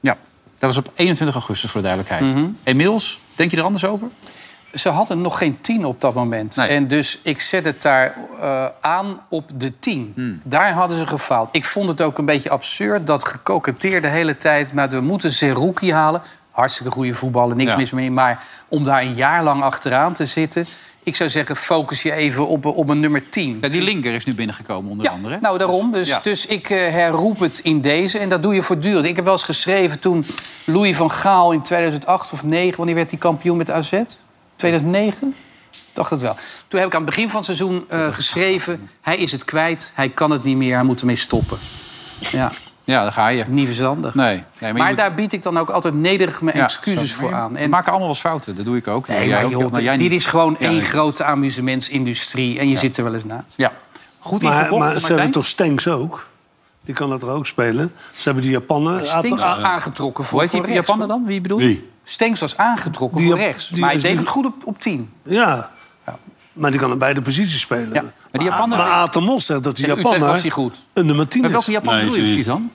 S8: Ja, dat was op 21 augustus voor de duidelijkheid. Inmiddels, denk je er anders over?
S3: Ze hadden nog geen tien op dat moment.
S8: Nee.
S3: En dus ik zet het daar eh, aan op de tien.
S8: Hmm.
S3: Daar hadden ze gefaald. Ik vond het ook een beetje absurd dat gekoketteer de hele tijd... maar we moeten Zerouki halen. Hartstikke goede voetballer, niks
S8: Ja.
S3: mis mee. Maar om daar een jaar lang achteraan te zitten... ik zou zeggen, focus je even op, op een nummer 10.
S8: Ja, die linker is nu binnengekomen, onder andere. hè?
S3: Nou, daarom. Dus,
S8: Ja.
S3: dus ik eh, herroep het in deze. En dat doe je voortdurend. Ik heb wel eens geschreven toen Louis van Gaal in 2008 of 2009... wanneer werd hij kampioen met AZ? 2009? Ik dacht het wel. Toen heb ik aan het begin van het seizoen eh, geschreven... hij is het kwijt, hij kan het niet meer, hij moet ermee stoppen. Ja,
S8: Ja, daar ga je. Nee,
S3: niet verstandig.
S8: nee maar,
S3: maar
S8: je moet-
S3: daar bied ik dan ook altijd nederig mijn
S8: Ja,
S3: excuses
S8: zo.
S3: voor aan.
S8: We maken allemaal wel eens fouten, dat doe ik ook.
S3: nee,
S8: Jij
S3: maar
S8: ook,
S3: joh,
S8: jij
S3: dit
S8: niet.
S3: is gewoon één
S8: ik-
S3: grote amusementsindustrie. En je zit er wel eens naast.
S8: Ja. Goed
S4: Maar,
S8: ingekocht,
S4: maar ze
S8: Martijn.
S4: hebben toch Stenks ook? Die kan dat er ook spelen. Ze hebben die Japanen...
S3: Stenks was aangetrokken voor,
S8: Hoe heet
S3: voor
S8: die
S3: rechts,
S8: Japaner dan? Wie bedoel je?
S5: Wie?
S3: Stenks was aangetrokken
S4: Die
S3: voor
S4: op-
S3: rechts.
S4: die
S3: Maar hij
S4: is
S3: deed
S4: nu-
S3: het goed op, op tien.
S4: Ja. Maar die kan aan beide posities spelen.
S3: Ja.
S4: Maar,
S8: Maar die
S4: maar
S8: Japaner...
S4: Aten Mos zegt dat die
S3: Tegen Utrecht was hij
S4: Japaner
S3: goed.
S4: een nummer 10
S8: Maar
S4: is.
S8: welke Japan
S5: Nee,
S8: bedoel je
S5: die-
S8: precies dan?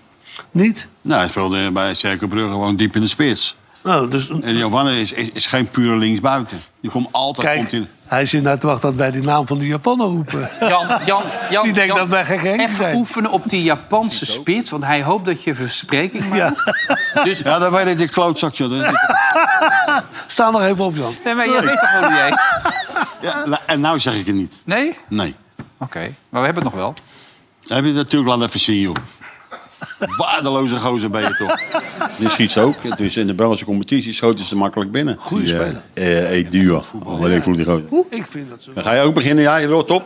S4: Niet?
S5: Nou, hij speelde bij Cercle Brugge gewoon diep in de spits.
S4: Nou, dus,
S5: En Giovanni is, is, is geen pure linksbuiten. Die komt altijd...
S4: kijk,
S5: komt in,
S4: hij zit nou te wachten dat wij die naam van die Japaner roepen.
S3: Jan, Jan, Jan,
S4: [laughs] Die denkt
S3: Jan,
S4: dat wij gek Henk
S3: Even
S4: zijn.
S3: oefenen op die Japanse spits, want hij hoopt dat je verspreking maakt.
S4: [laughs]
S3: Dus
S5: Ja, dan weet ik die klootzak, joh. Dat-
S4: Sta nog even op, Jan.
S8: Nee, maar je weet toch hoe die
S4: [laughs]
S8: heet?
S5: Ja, nou, en nou zeg ik het niet.
S8: Nee?
S5: Nee.
S8: Oké, maar we hebben het nog wel.
S5: Dat heb je natuurlijk laten even zien, joh. Waardeloze gozer ben je toch. Die schiet ze ook. Dus in de Belgische competitie schoten ze makkelijk binnen. Goede speler. Eh, Eduard. Of Weet ik hoe die gozer.
S4: Ik vind dat ze
S5: Dan ga je ook beginnen, ja, je rot op.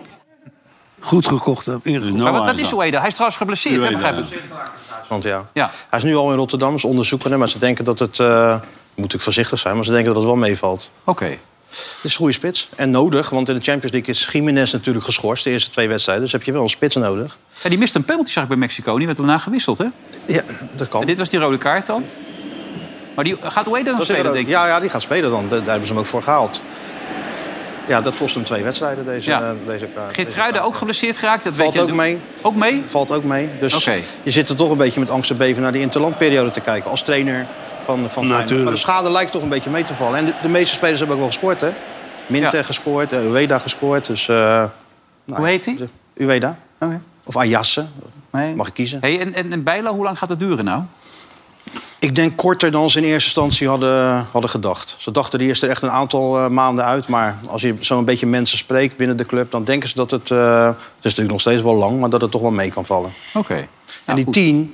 S4: goed gekocht hebben. ingekocht.
S8: maar wat, dat is Ueda. Hij is trouwens geblesseerd, hè,
S9: Ueda,
S8: begrijp ik.
S9: Want ja.
S8: Ja.
S9: Hij is nu al in Rotterdam, ze onderzoeken hem. Maar ze denken dat het... eh moet ik voorzichtig zijn, maar ze denken dat het wel meevalt.
S8: Oké.
S9: Het is een goede spits. En nodig, want in de Champions League is Jiménez natuurlijk geschorst. De eerste twee wedstrijden. Dus heb je wel een spits nodig.
S8: Ja, die miste een penalty, zag ik bij Mexico. Die werd daarna gewisseld, hè?
S9: Ja, dat kan.
S8: En dit was die rode kaart dan. Maar die gaat Ueda dan
S9: Oh. Dat is
S8: spelen,
S9: inderdaad-
S8: denk ik.
S9: ja, ja, die gaat spelen dan. Daar daar hebben ze hem ook voor gehaald. Ja, dat kost hem twee wedstrijden, deze,
S8: Ja.
S9: eh, deze kaart.
S8: Geertruiden ook geblesseerd geraakt, dat
S9: Valt
S8: weet je.
S9: ook mee.
S8: Ook mee?
S9: Valt ook mee. Dus
S8: Oké.
S9: je zit er toch een beetje met angst en beven naar die interlandperiode te kijken. Als trainer van, van Feyenoord.
S4: Natuurlijk.
S9: Maar de schade lijkt toch een beetje mee te vallen. En de, de meeste spelers hebben ook wel gescoord, hè? Minter gescoord, eh, Ueda gescoord. Dus, eh, nou
S3: Hoe
S9: ja,
S3: heet hij? Oh,
S9: Ueda. Of Ayasse.
S3: Nee.
S9: Mag ik kiezen?
S8: Hey, en, en, en Bijlo, hoe lang gaat dat duren nou?
S9: Ik denk korter dan ze in eerste instantie hadden, hadden gedacht. Ze dachten die eerst er echt een aantal eh, maanden uit. Maar als je zo'n beetje mensen spreekt binnen de club... dan denken ze dat het... eh, het is natuurlijk nog steeds wel lang, maar dat het toch wel mee kan vallen.
S8: Oké.
S9: en die tien,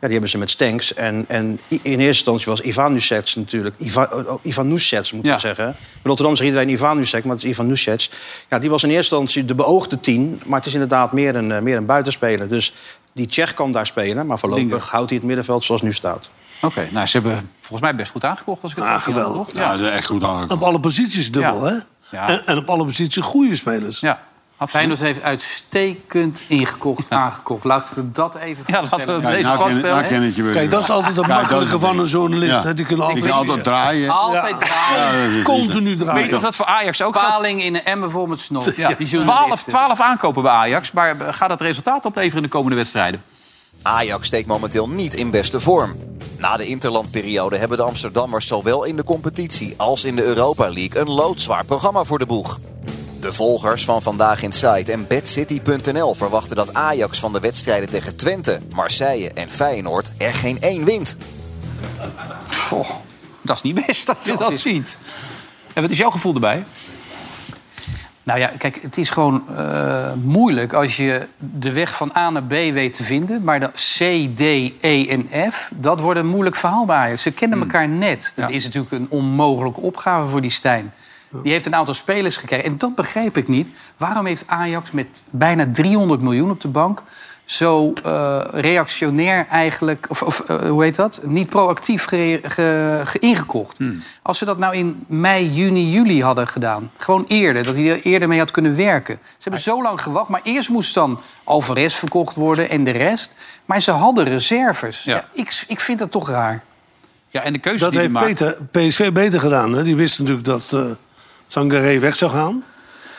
S9: ja, die hebben ze met Stenks. En, en i- in eerste instantie was Ivan Nusets natuurlijk... Ivan, oh, oh, Ivan Nusets, moet ik
S8: Ja.
S9: zeggen. In Rotterdam zegt iedereen Ivan Nusets, maar het is Ivan Nusets. Ja, die was in eerste instantie de beoogde tien. Maar het is inderdaad meer een, eh, meer een buitenspeler. Dus die Tsjech kan daar spelen. Maar voorlopig
S8: Linger.
S9: houdt hij het middenveld zoals nu staat.
S8: Oké, nou, ze hebben volgens mij best goed aangekocht. Als ik het
S4: Ah,
S8: zo zie,
S4: geweldig.
S8: toch?
S5: Ja,
S8: Ja,
S5: dat is echt goed aangekomen.
S4: Op alle posities dubbel, hè?
S8: Ja.
S4: En, en op alle posities goede spelers.
S8: ja. absoluut.
S3: Feyenoord heeft uitstekend ingekocht, aangekocht. Laten we dat even
S8: Ja, laten we
S3: vaststellen.
S8: dat-
S5: Kijk, nou
S8: Deze
S5: ken,
S8: vaststellen,
S5: nou
S8: hè?
S5: ken ik je weer.
S4: Kijk, dat is altijd het
S5: Kijk, dat is
S4: makkelijke
S5: het
S4: van
S5: ding.
S4: een journalist.
S5: Ja.
S4: hè? Die kunnen
S5: Ik
S4: altijd,
S5: kan altijd draaien.
S3: Altijd
S5: Ja,
S3: draaien.
S5: dat is-
S4: continu
S8: Weet je
S4: draaien.
S8: dat dat voor Ajax ook gaat?
S3: Paling in een emmer voor met snot.
S8: Ja,
S3: Die
S8: 12,
S3: journalisten.
S8: 12 aankopen bij Ajax, maar gaat dat resultaat opleveren in de komende wedstrijden?
S13: Ajax steekt momenteel niet in beste vorm. Na de interlandperiode hebben de Amsterdammers zowel in de competitie als in de Europa League een loodzwaar programma voor de boeg. De volgers van Vandaag in Site en BadCity.nl verwachten dat Ajax van de wedstrijden tegen Twente, Marseille en Feyenoord er geen één wint.
S8: Pff, dat is niet best als je
S3: Dat
S8: dat
S3: is-
S8: ziet. En wat is jouw gevoel erbij?
S3: Nou ja, kijk, het is gewoon eh, moeilijk als je de weg van A naar B weet te vinden. Maar de C, D, E en F, dat wordt een moeilijk verhaal bij Ajax. Ze kennen elkaar net. Dat is natuurlijk een onmogelijke opgave voor die Stijn. Die heeft een aantal spelers gekregen. En dat begrijp ik niet. Waarom heeft Ajax met bijna 300 miljoen op de bank... zo eh, reactionair eigenlijk, of, of eh, hoe heet dat? Niet proactief gere- ge- ge- ingekocht. Als ze dat nou in mei, juni, juli hadden gedaan. Gewoon eerder, dat hij er eerder mee had kunnen werken. Ze hebben zo lang gewacht, maar eerst moest dan Alvarez verkocht worden en de rest. Maar ze hadden reserves.
S8: Ja.
S3: Ja, ik, ik vind dat toch raar.
S8: Ja, en de keuze
S4: Dat
S8: die je
S4: heeft
S8: maakt.
S4: beter, PSV beter gedaan. Hè? Die wisten natuurlijk dat eh Sangaré weg zou gaan.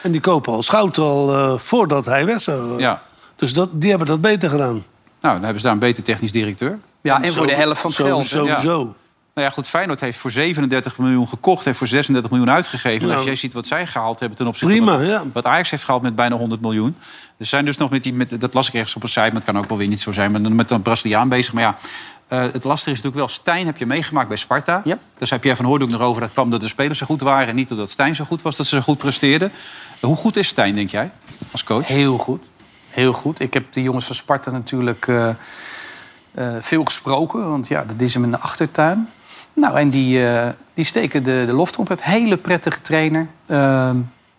S4: En die kopen al Schout al eh, voordat hij weg zou.
S8: Ja.
S4: Dus dat, die hebben dat beter gedaan.
S8: Nou, dan hebben ze daar een beter technisch directeur.
S3: Ja, en voor de helft van het
S4: zo,
S3: geld. hè.
S4: Sowieso.
S8: Nou ja, goed, Feyenoord heeft voor 37 miljoen gekocht, heeft voor 36 miljoen uitgegeven. En
S4: Nou,
S8: als jij ziet wat zij gehaald hebben ten opzichte
S4: prima,
S8: van wat,
S4: ja.
S8: wat Ajax heeft gehaald met bijna 100 miljoen. Er zijn dus nog met die, met, dat las ik ergens op een site, maar het kan ook wel weer niet zo zijn, maar dan met een Braziliaan bezig. Maar ja, eh, het lastige is natuurlijk wel, Stijn heb je meegemaakt bij Sparta.
S3: Ja.
S8: Daar zei Pierre van Hoorn ook nog over, dat kwam dat de spelers zo goed waren en niet doordat Stijn zo goed was, dat ze zo goed presteerden. Hoe goed is Stijn, denk jij, als coach?
S3: Heel goed. Heel goed. Ik heb de jongens van Sparta natuurlijk eh, eh, veel gesproken. Want ja, dat is hem in de achtertuin. Nou, en die, eh, die steken de, de loft op. Het hele prettige trainer. Ehm,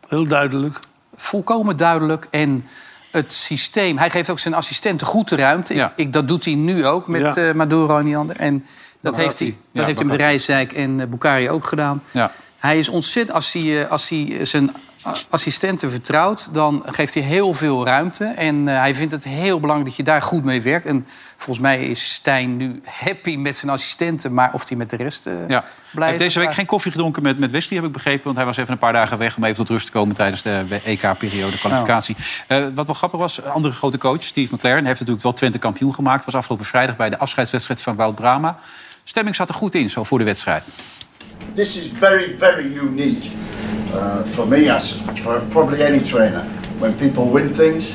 S4: Heel duidelijk.
S3: volkomen duidelijk. En het systeem. Hij geeft ook zijn assistenten goed de ruimte.
S8: Ja.
S3: Ik, ik, dat doet hij nu ook met
S4: Ja.
S3: eh, Maduro en die ander. En dat
S4: Bakati.
S3: heeft hij,
S8: Ja,
S3: dat heeft hij met Rijsdijk en eh, Boukari ook gedaan.
S8: Ja.
S3: Hij is ontzettend, als hij, eh, als hij zijn a- assistenten vertrouwt, dan geeft hij heel veel ruimte. En eh, hij vindt het heel belangrijk dat je daar goed mee werkt. En volgens mij is Stijn nu happy met zijn assistenten, maar of hij met de rest eh
S8: Ja. Hij
S3: blij is.
S8: heeft deze week
S3: dat-
S8: geen koffie gedronken met, met Wesley, heb ik begrepen. Want hij was even een paar dagen weg om even tot rust te komen tijdens de EK-periode kwalificatie. Eh, wat wel grappig was, een andere grote coach, Steve McLaren, heeft natuurlijk wel Twente kampioen gemaakt. Was afgelopen vrijdag bij de afscheidswedstrijd van Wout Brama. stemming zat er goed in zo voor de wedstrijd.
S14: This is very, very unique uh, for me, as for probably any trainer. When people win things,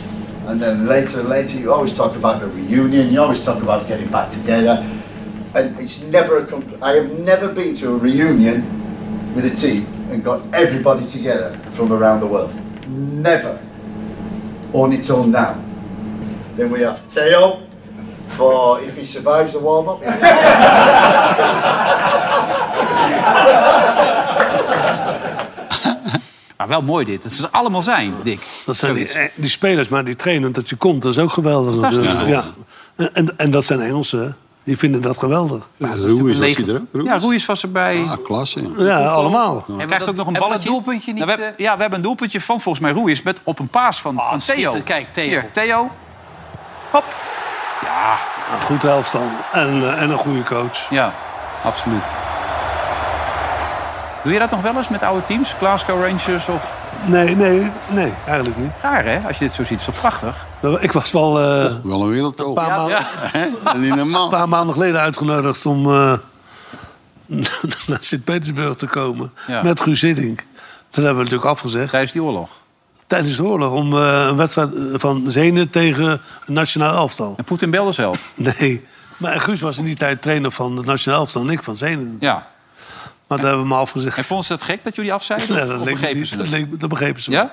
S14: and then later, later, you always talk about the reunion. You always talk about getting back together, and it's never a. Compl- I have never been to a reunion with a team and got everybody together from around the world. Never. Only till now. Then we have Teo for if he survives the warm up.
S8: Maar wel mooi dit. Dat ze er allemaal zijn, Dick.
S4: Dat zijn die, eh, die spelers, maar die trainen dat je komt, dat is ook geweldig.
S8: Fantastisch,
S4: natuurlijk.
S8: toch?
S4: Ja. En- En, en dat zijn Engelsen, hè. die vinden dat geweldig. Ja,
S8: Een lege- Ja, Roeis was erbij. Ah,
S5: klasse.
S4: Ja, allemaal.
S8: Hij krijgt ook nog een balletje. doelpuntje niet, we,
S3: eh?
S8: ja, we hebben een doelpuntje van volgens mij Roeis met op een paas van, van Theo.
S3: Ah, schitterend. Kijk, Theo.
S8: Hier, Theo. Hop. Ja,
S4: Een Nou, goed elftal en, eh, en een goede coach.
S8: Ja, absoluut. Doe je dat nog wel eens met oude teams? Glasgow Rangers of...
S4: Nee, nee, nee, eigenlijk niet.
S8: Raar, hè? Als je dit zo ziet, is dat prachtig.
S4: Ik was wel... eh,
S5: Wel een wereldkoop.
S4: Een paar maanden- Een paar maanden geleden uitgenodigd om eh, [laughs] naar Sint-Petersburg te komen.
S8: Ja.
S4: Met Guus Hiddink. Dat hebben we natuurlijk afgezegd.
S8: Tijdens die oorlog?
S4: Tijdens de oorlog. Om eh, een wedstrijd van Zenen tegen een nationaal elftal.
S8: En Poetin belde zelf?
S4: [laughs] Nee. Maar Guus was in die tijd trainer van het nationaal elftal. En ik van Zenen.
S8: Ja.
S4: Maar dat hebben we maar afgezegd. [laughs]
S8: En vonden ze dat gek dat jullie afzeiden?
S4: Ja,
S8: Of
S4: dat, leek me
S8: begrepen
S4: niet,
S8: ze
S4: dat,
S8: het?
S4: leek me- dat begrepen ze.
S8: Ja?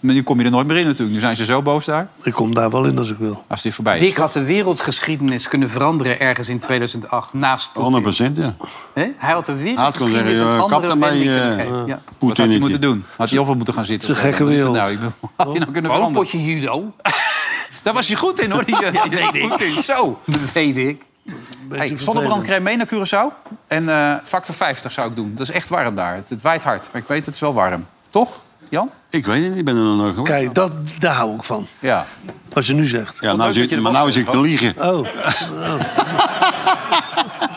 S8: Maar nu kom je er nooit meer in natuurlijk. Nu zijn ze zo boos daar.
S4: Ik kom daar wel in als ik wil.
S8: Als dit voorbij is.
S3: Dick had de wereldgeschiedenis kunnen veranderen ergens in 2008 naast Poetin.
S5: 100 ja.
S3: Hè? Hij had de
S5: Hij kon
S3: wereldgeschiedenis
S5: zeggen,
S3: een
S5: eh, kap
S3: andere
S5: ermee,
S3: wending kunnen
S5: eh
S3: geven. Ja.
S8: Wat had hij moeten
S5: Poetin.
S8: doen? Had hij op moeten gaan zitten?
S5: Het is een gekke
S8: Wat is het
S5: wereld.
S8: Nou, ik bedoel, had hij nou kunnen
S3: Gewoon een potje
S8: veranderen?
S3: judo. [laughs]
S8: Daar was hij goed in, hoor. Die, eh,
S3: Ja, weet ik.
S8: Poetin. Zo.
S3: Dat weet ik.
S8: Hey, zonnebrandcreme mee naar Curaçao. En eh, factor 50 zou ik doen. Dat is echt warm daar. Het, het waait hard. Maar ik weet, het is wel warm. Toch, Jan?
S5: Ik weet het, ik ben er nog nooit geweest.
S4: Kijk, dat, daar hou ik van.
S8: Ja.
S4: Wat je nu zegt.
S5: Ja, nou
S8: leuk dat je
S5: zit,
S8: er
S5: maar
S8: was,
S5: nou zit ik te liegen.
S4: Oh.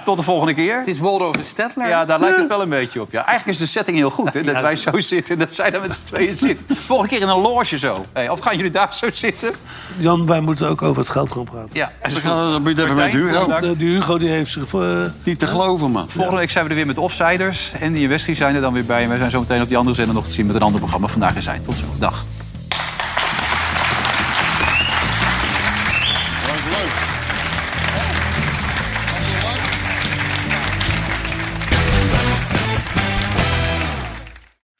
S8: Tot de volgende keer. Het
S3: is Waldorf en Stettler.
S8: Ja, daar lijkt het wel een beetje op. Ja. Eigenlijk is de setting heel goed, hè? Dat wij zo zitten en dat zij daar met z'n tweeën zitten. Volgende keer in een loge zo. Hey, of gaan jullie daar zo zitten?
S4: Jan, wij moeten ook over het geld gaan praten.
S8: Ja.
S5: We gaan dan moet je het even met
S8: Martijn,
S5: Hugo.
S8: bedankt.
S4: Die Hugo die heeft zich... eh,
S5: Niet te geloven, man.
S8: Volgende week zijn we er weer met Offsiders. En die en Westie zijn er dan weer bij. En wij zijn zo meteen op die andere zender nog te zien met een ander programma. Vandaag is hij. Tot zo. Dag.